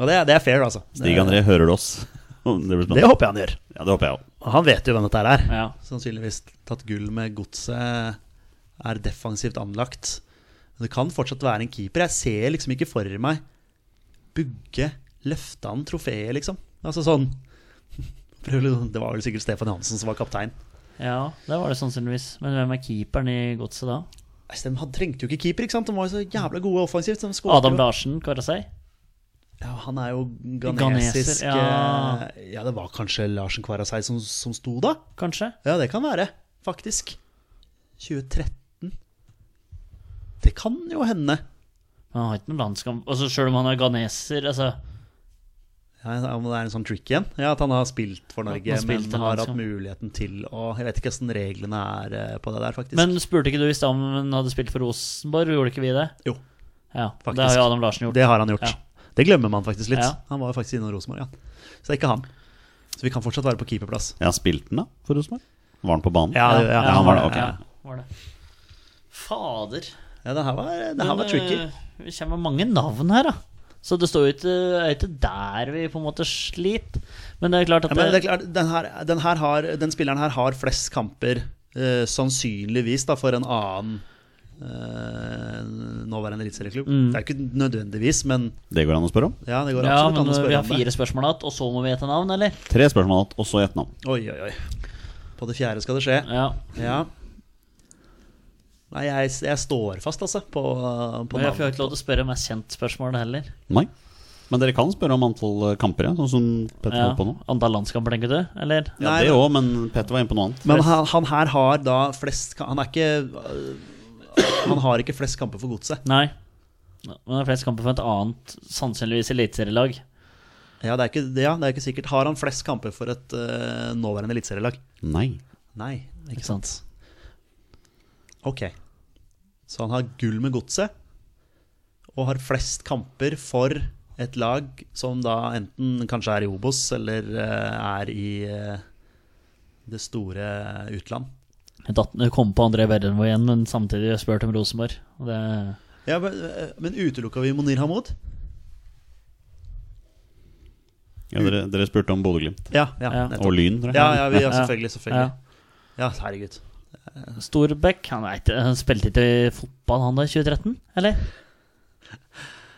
S2: og det, er- det er fair, altså. Det-
S1: Stig André, hører du oss? Det blir
S2: Det
S1: spennende.
S2: håper jeg han gjør.
S1: Ja, det håper jeg òg.
S2: Og Han vet jo hvem dette her er.
S3: Ja.
S2: Sannsynligvis tatt gull med Godset, er defensivt anlagt. Men det kan fortsatt være en keeper. Jeg ser liksom ikke for meg Bugge løfta han trofeet, liksom. Altså sånn Prøv- Det var vel sikkert Stefan Johansen som var kaptein.
S3: Ja, det var det sannsynligvis. Men hvem er keeperen i godset da?
S2: Altså, de hadde- trengte jo ikke keeper, ikke sant? De var jo så jævla gode offensivt. så De skåret
S3: Adam
S2: jo.
S3: Larsen, hva er det å si?
S2: Ja, han er jo
S3: Ganeser,
S2: ganesisk
S3: ja.
S2: eh, ja, det var kanskje Larsen Kvarasei som, som sto da?
S3: Kanskje?
S2: Ja, det kan være, faktisk. 2013. Det kan jo hende.
S3: Men han har ikke noen landskamp. Altså, Sjøl om han er ganeser altså,
S2: Ja, om det er en sånn trick igjen? Ja, At han har spilt for Norge,
S3: han altså. har spilt
S2: men
S3: en
S2: har hatt
S3: landskamp.
S2: muligheten til å Jeg vet ikke hvordan reglene er eh, på det der, faktisk.
S3: Men spurte ikke du i stad om han hadde spilt for Rosenborg? Gjorde ikke vi det?
S2: Jo.
S3: Ja,
S2: Faktisk.
S3: Det har jo Adam Larsen gjort.
S2: Det har han gjort.
S3: Ja.
S2: Det glemmer man faktisk litt.
S3: Ja.
S2: Han var faktisk innom Rosenborg, ja. Så det er ikke han. Så vi kan fortsatt være på keeperplass.
S1: Ja, spilte han da for Rosenborg? Var han på banen?
S2: Ja, ja,
S1: han var det.
S3: ja,
S1: Ok.
S3: var det. Fader.
S2: Ja, det her var, det her
S3: Men,
S2: var tricky.
S3: eh, Det kommer mange navn her, da. Så det står jo ikke, er ikke der vi på en måte sliter. Men det er klart at
S2: Ja, men det er klart, den, her, den, her har, den spilleren her har flest kamper, eh, sannsynligvis, da, for en annen uh, nåværende eliteserieklubb. Det er ikke nødvendigvis, men
S1: Det går an å spørre om.
S2: ja, det går
S3: Mm. ja,
S2: absolutt an
S3: men eh,
S2: å
S3: vi
S2: spørre
S3: har
S2: om det.
S3: fire spørsmål igjen, og så må vi gjette navn, eller?
S1: Tre spørsmål igjen, og så gjett navn.
S2: Oi, oi, oi. På det fjerde skal det skje.
S3: Ja.
S2: Ja. Nei, jeg, jeg står fast, altså, på, på
S3: Men jeg får jo
S2: navnet.
S3: ikke lov til å spørre mest kjent spørsmål heller.
S1: Nei. Men dere kan spørre om antall eh, kamper, ja, sånn som Petter
S3: Ja.
S1: holdt på nå.
S3: Antall landskamper, tenker du? Eller?
S1: Ja,
S2: Nei,
S1: det òg, men Petter var inne på noe annet.
S2: Men han, han her har da flest ka- Han er ikke øh, Han har ikke flest kamper for godset.
S3: Nei. Men det er flest kamper for et annet, sannsynligvis eliteserielag.
S2: Ja, det er ikke, ja, det er ikke sikkert. Har han flest kamper for et øh, nåværende eliteserielag?
S1: Nei.
S2: Nei, ikke
S3: Ikke
S2: sant.
S3: sant?
S2: Ok. Så han har gull med godset, og har flest kamper for et lag som da enten kanskje er i Obos, eller eh, er i eh, det store utland.
S3: Jeg datt- jeg kom på André Berrenvoe igjen, men samtidig har jeg spurt om Rosenborg. Og det,
S2: Ja, men, eh, men utelukka vi Monir Hamoud?
S1: Ja, dere, dere spurte om Bodø-Glimt.
S2: Ja, ja,
S3: Ja.
S1: Og
S2: nettopp.
S1: Lyn, tror jeg.
S2: Ja, ja, vi, ja,
S3: Ja.
S2: selvfølgelig. selvfølgelig. Ja, herregud.
S3: Ja. Storbekk han, er ikke, han spilte ikke i fotball han da i 2013, eller?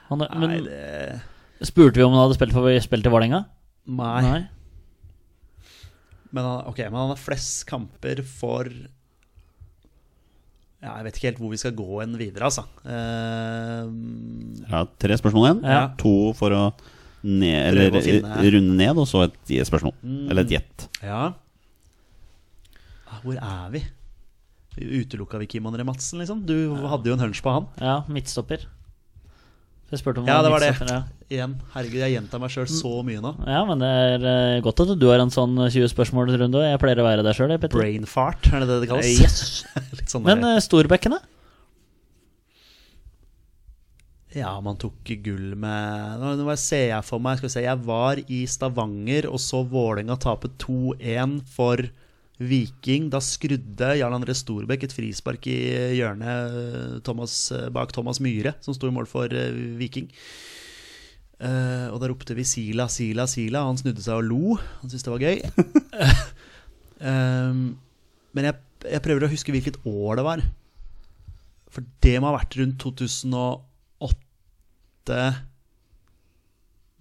S3: Han, er-
S2: Nei,
S3: men
S2: det
S3: spurte vi om han hadde spilt, for, spilt i Vålerenga?
S2: Nei. Men han, ok, men han har flest kamper for ja, Jeg vet ikke helt hvor vi skal gå enn videre, altså. Eh,
S1: Ja, tre spørsmål igjen.
S3: Ja.
S1: To for å ned, eller,
S2: Prøve å finne-
S1: runde ned, og så et spørsmål.
S2: Mm.
S1: Eller et gjett.
S2: ja. Ah, Hvor er vi? Utelukka vi Kim André Madsen, liksom? Du hadde jo en hunch på han.
S3: Ja, midtstopper. Så jeg spurte om
S2: Ja,
S3: han
S2: det var det.
S3: midtstopper, Ja.
S2: Igjen. Herregud, jeg gjentar meg sjøl så mye nå.
S3: Ja, men det er eh, godt at du har en sånn 20 spørsmål-runde. og Jeg pleier å være der sjøl, jeg, Petter.
S2: Brain fart, er det det det kalles? Eh, Litt sånn
S3: Men
S2: der-
S3: eh, Storbekken, da?
S2: Ja, man tok gull med Nå nå bare ser jeg for meg skal vi se, Jeg var i Stavanger og så Vålerenga tape 2-1 for Viking. Da skrudde Jarl André Storbekk et frispark i hjørnet eh, Thomas, eh, bak Thomas Myhre, som sto i mål for eh, Viking. Eh, og da ropte vi 'Sila, Sila, Sila', og han snudde seg og lo. Han syntes det var gøy. Ehm, men jeg, jeg prøver å huske hvilket år det var. For det må ha vært rundt 2008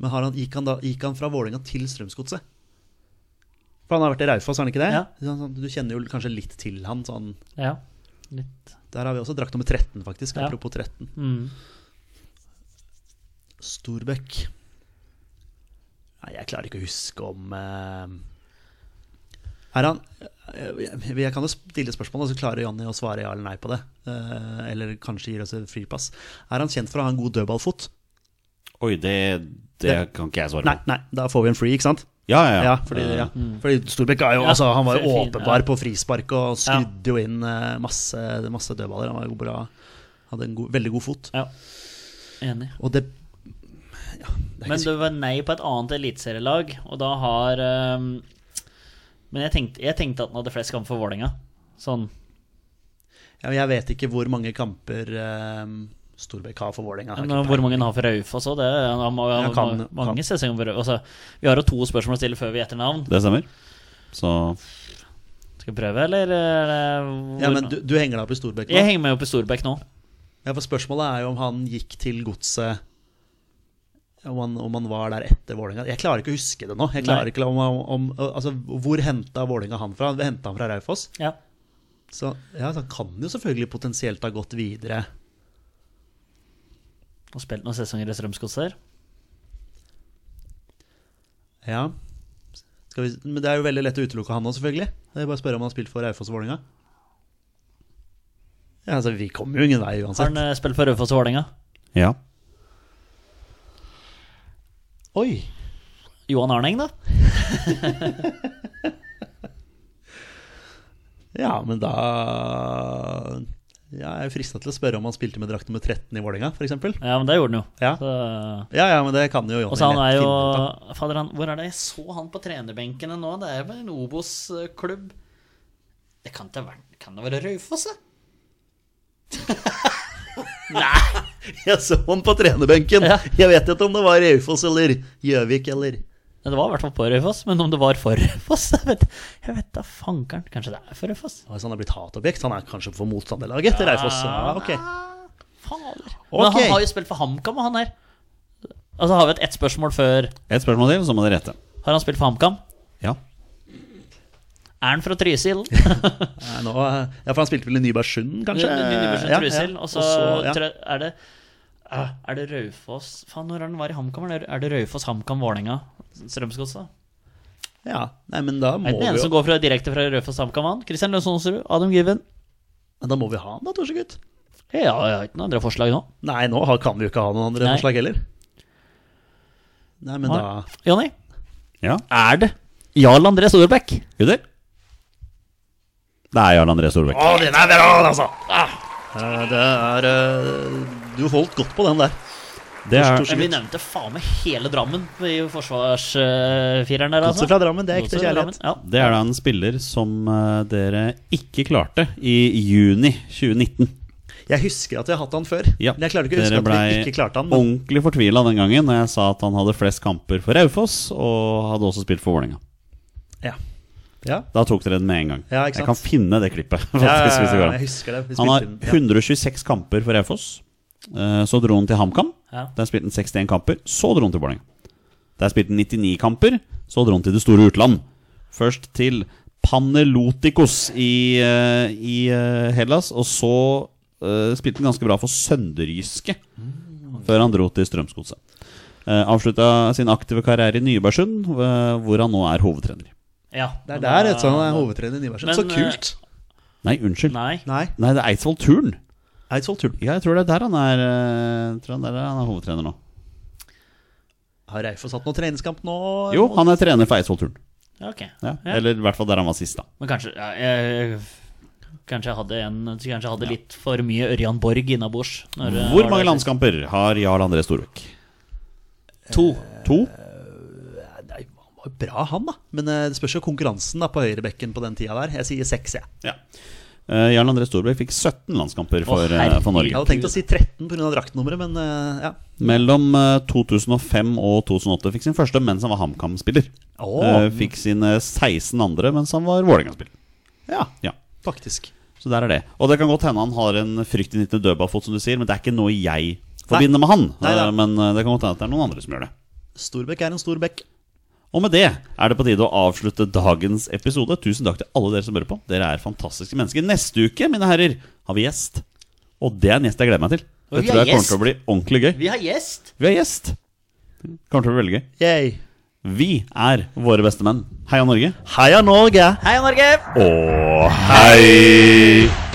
S2: Men eh, har han, gikk, han da, gikk han fra Vålerenga til Strømsgodset? For han har vært i Raufoss, har han ikke det?
S3: Ja.
S2: Sånn- sånn, Du kjenner jo kanskje litt til han. Sånn.
S3: Ja. Litt.
S2: Der har vi også drakt nummer 13, faktisk.
S3: Ja.
S2: Apropos 13.
S3: Mm.
S2: Storbekk Nei, jeg klarer ikke å huske om eh, Er han jeg, jeg kan jo stille spørsmål, og så klarer Jonny å svare ja eller nei på det. Eh, eller kanskje gir oss et fripass. Er han kjent for å ha en god dødballfot?
S1: Oi, det, det
S2: Det-
S1: kan ikke jeg svare
S2: Nei,
S1: på.
S2: nei, da får vi en free, ikke sant?
S1: Ja, ja,
S2: Ja,
S1: ja.
S2: fordi,
S1: Eh,
S2: ja. fordi Storbekk er jo,
S3: Mm. Ja,
S2: altså, han var jo
S3: fin,
S2: åpenbar
S3: ja.
S2: på frispark og skrudde jo inn eh, masse, masse dødballer. Han var jo bra, hadde en god, veldig god fot.
S3: ja. Enig.
S2: Og det Det er
S3: Men
S2: ikke
S3: det var nei på et annet eliteserielag, og da har ehm, Men jeg tenkte, jeg tenkte at han hadde flest kamper for Vålerenga. Sånn.
S2: sikkert. ja, men jeg vet ikke hvor mange kamper eh, Storbekk har for Vålerenga. Jeg har
S3: Men
S2: ikke
S3: hvor mange han har for Raufoss òg, det han har, ma-
S2: Ja, kan-
S3: ma- mange
S2: kan.
S3: sesonger for Raufoss. Altså, vi har jo to spørsmål å stille før vi gjetter navn.
S1: Det stemmer. Så
S3: Skal vi prøve, eller? eh, hvor-
S2: Ja, men du, du henger deg opp i Storbekk
S3: Jeg
S2: nå?
S3: henger meg opp i Storbekk nå.
S2: Ja, for spørsmålet er jo om han gikk til godset om han, om han var der etter Vålinga Jeg klarer ikke å huske det nå. Jeg klarer
S3: Nei.
S2: ikke om, om, om, altså, Hvor henta Vålinga han fra? Vi hentet han fra Raufoss.
S3: Ja.
S2: Så ja, så han kan jo selvfølgelig potensielt ha gått videre.
S3: Og spilt noen sesonger i Strømsgodset. der.
S2: Ja. Skal vi, men det er jo veldig lett å utelukke han nå, selvfølgelig. Det er bare å spørre om han har spilt for Raufoss og Vålinga Ja, altså, vi kommer jo ingen vei
S3: Har han
S2: uansett.
S3: eh, spilt for Raufoss og Vålerenga?
S1: ja.
S2: Oi!
S3: Johan Arneng, da?
S2: Ja, men da ja, Jeg er jo frista til å spørre om han spilte med drakt nummer 13 i Vålerenga, f.eks.
S3: Ja, men det gjorde han jo.
S2: Ja.
S3: Så eh,
S2: Ja, ja, men det kan jo Jonny
S3: Og så han er
S2: lett
S3: jo
S2: finne ut av.
S3: Fader, han, hvor er det jeg så han på trenerbenkene nå? Det er vel en Obos-klubb? Det kan ikke ha vært Kan det være Raufoss, da?
S2: Jeg så han på trenerbenken!
S3: Ja.
S2: Jeg vet ikke om det var Raufoss eller Gjøvik eller
S3: Ja, Det var i hvert fall på Raufoss, men om det var for Raufoss Jeg vet jeg vet da fankeren. Kanskje det er for Raufoss?
S2: Hvis han er blitt hatobjekt, han er kanskje for motstanderlaget til Raufoss. Ja, ok.
S3: Fader. Men
S2: Ok.
S3: han har jo spilt for HamKam, og han her. Altså Har vi et ett spørsmål før
S1: Et spørsmål til, så må dere rette.
S3: Har han spilt for HamKam?
S1: Ja.
S3: Er han fra Trysil?
S2: Nei, nå, ja, for han spilte vel i Nybergsund, kanskje?
S3: Nybergsen
S2: Ja,
S3: Trysil.
S2: ja.
S3: Og så
S2: Og så, ja.
S3: trø- er det Ah, Er det Raufoss Faen, når er den var i HamKam? Er det- Er det Raufoss, HamKam, Vålerenga? Strømsgodset?
S2: ja. Nei, men da må
S3: Er det den
S2: vi
S3: ene
S2: jo
S3: som går fra, direkte fra Raufoss, HamKam? han? Christian Lønsonsrud, Adam Given?
S2: Men Da må vi ha han, da, Torsegutt.
S3: Ja, jeg har ikke noen andre forslag nå.
S2: Nei, nå har- kan vi jo ikke ha noen andre
S3: Nei.
S2: forslag heller. Nei, men da
S3: Nei. Jonny,
S1: Ja.
S3: er det Jarl André Storbekk?
S1: Gutter? Det er Jarl André Solbekk.
S2: Å, den er bra, altså! Ah. Eh, Det er eh, Du holdt godt på den der.
S1: Det er
S3: Men vi nevnte faen meg hele Drammen i forsvarsfireren der, altså.
S2: Godset fra Drammen, det er ekte
S3: Godset fra
S2: kjærlighet.
S3: Drammen,
S1: Det er da en spiller som eh, dere ikke klarte i juni 2019.
S2: Jeg husker at jeg har hatt han før.
S1: Ja,
S2: Men jeg klarer ikke å huske
S1: dere
S2: at vi
S1: blei
S2: ikke klarte han. Men
S1: Ordentlig fortvila den gangen når jeg sa at han hadde flest kamper for Raufoss, og hadde også spilt for Vålerenga.
S2: ja. Ja.
S1: Da tok dere den med en gang.
S2: Ja, ikke
S1: jeg
S2: sant?
S1: kan finne det klippet. faktisk,
S2: Ja, ja,
S1: hvis det går
S2: ja,
S1: an.
S2: jeg husker det. Vi
S1: Han har
S2: spilte inn-
S1: 126 kamper for Raufoss. Eh, Så dro han til HamKam.
S3: Ja.
S1: Der spilte han 61 kamper. Så dro han til Vålerenga. Der spilte han 99 kamper. Så dro han til det store utland. Først til Panelotikos i, eh, i eh, Hellas, og så eh, spilte han ganske bra for Sønderjyske. Før han dro til Strømsgodset. Eh, Avslutta sin aktive karriere i Nybergsund, eh, hvor han nå er hovedtrener.
S3: Ja.
S2: Det er der et sånn er hovedtrener i Nybergsund. Så
S3: Men, eh,
S2: kult!
S1: Nei, unnskyld. Nei,
S3: Nei.
S2: Nei,
S1: det er Eidsvoll Turn.
S2: Eidsvoll Turn.
S1: Ja, jeg tror det er der han er, eh, tror han der er, han er hovedtrener nå.
S2: Har Raufoss hatt noen treningskamp nå?
S1: Jo, han er trener for Eidsvoll Turn.
S3: Ja, Ok.
S1: Ja.
S3: Ja.
S1: Eller i hvert fall der han var sist, da.
S3: Men kanskje ja, jeg, Kanskje jeg hadde, en, kanskje jeg hadde litt for mye Ørjan Borg innabords. når jeg
S1: Hvor
S3: var
S1: mange
S3: der sist.
S1: landskamper har Jarl André Storbekk? To. To?
S2: Nei, han var jo bra, han, da. Men eh, det spørs jo konkurransen da på høyrebekken på den tida der. Jeg sier seks, jeg.
S1: Ja. Eh, Jarl André Storbekk fikk 17 landskamper for, eh,
S3: herregud.
S1: for
S2: Jeg
S1: Norge.
S2: hadde tenkt å si 13 pga. draktnummeret, men eh, ja.
S1: Mellom eh, 2005 og 2008 fikk sin første mens han var HamKam-spiller.
S2: Åh.
S1: Eh, Fikk sine 16 andre mens han var Vålerenga-spiller.
S2: ja.
S1: Ja.
S2: Faktisk.
S1: Så der er det. Og det kan godt hende han har en fryktinngytende dødballfot, som du sier, men det er ikke noe jeg forbinder med han.
S2: Nei, nei.
S1: Eh, Men eh, det kan godt hende at det er noen andre som gjør det.
S2: Storbekk er en stor bekk.
S1: Og med det er det på tide å avslutte dagens episode. Tusen takk til alle dere som hører på. Dere er fantastiske mennesker. Neste uke, mine herrer, har vi gjest. Og det er en gjest jeg gleder meg til.
S3: Og
S1: Det
S3: vi
S1: tror
S3: har
S1: jeg kommer til
S3: gjest.
S1: å bli ordentlig gøy.
S3: Vi har gjest!
S1: Vi har gjest. Kommer til å bli veldig gøy.
S2: Yay.
S1: Vi er våre beste menn. Heia Norge.
S2: Heia Norge!
S3: Hei, Norge!
S1: Og hei!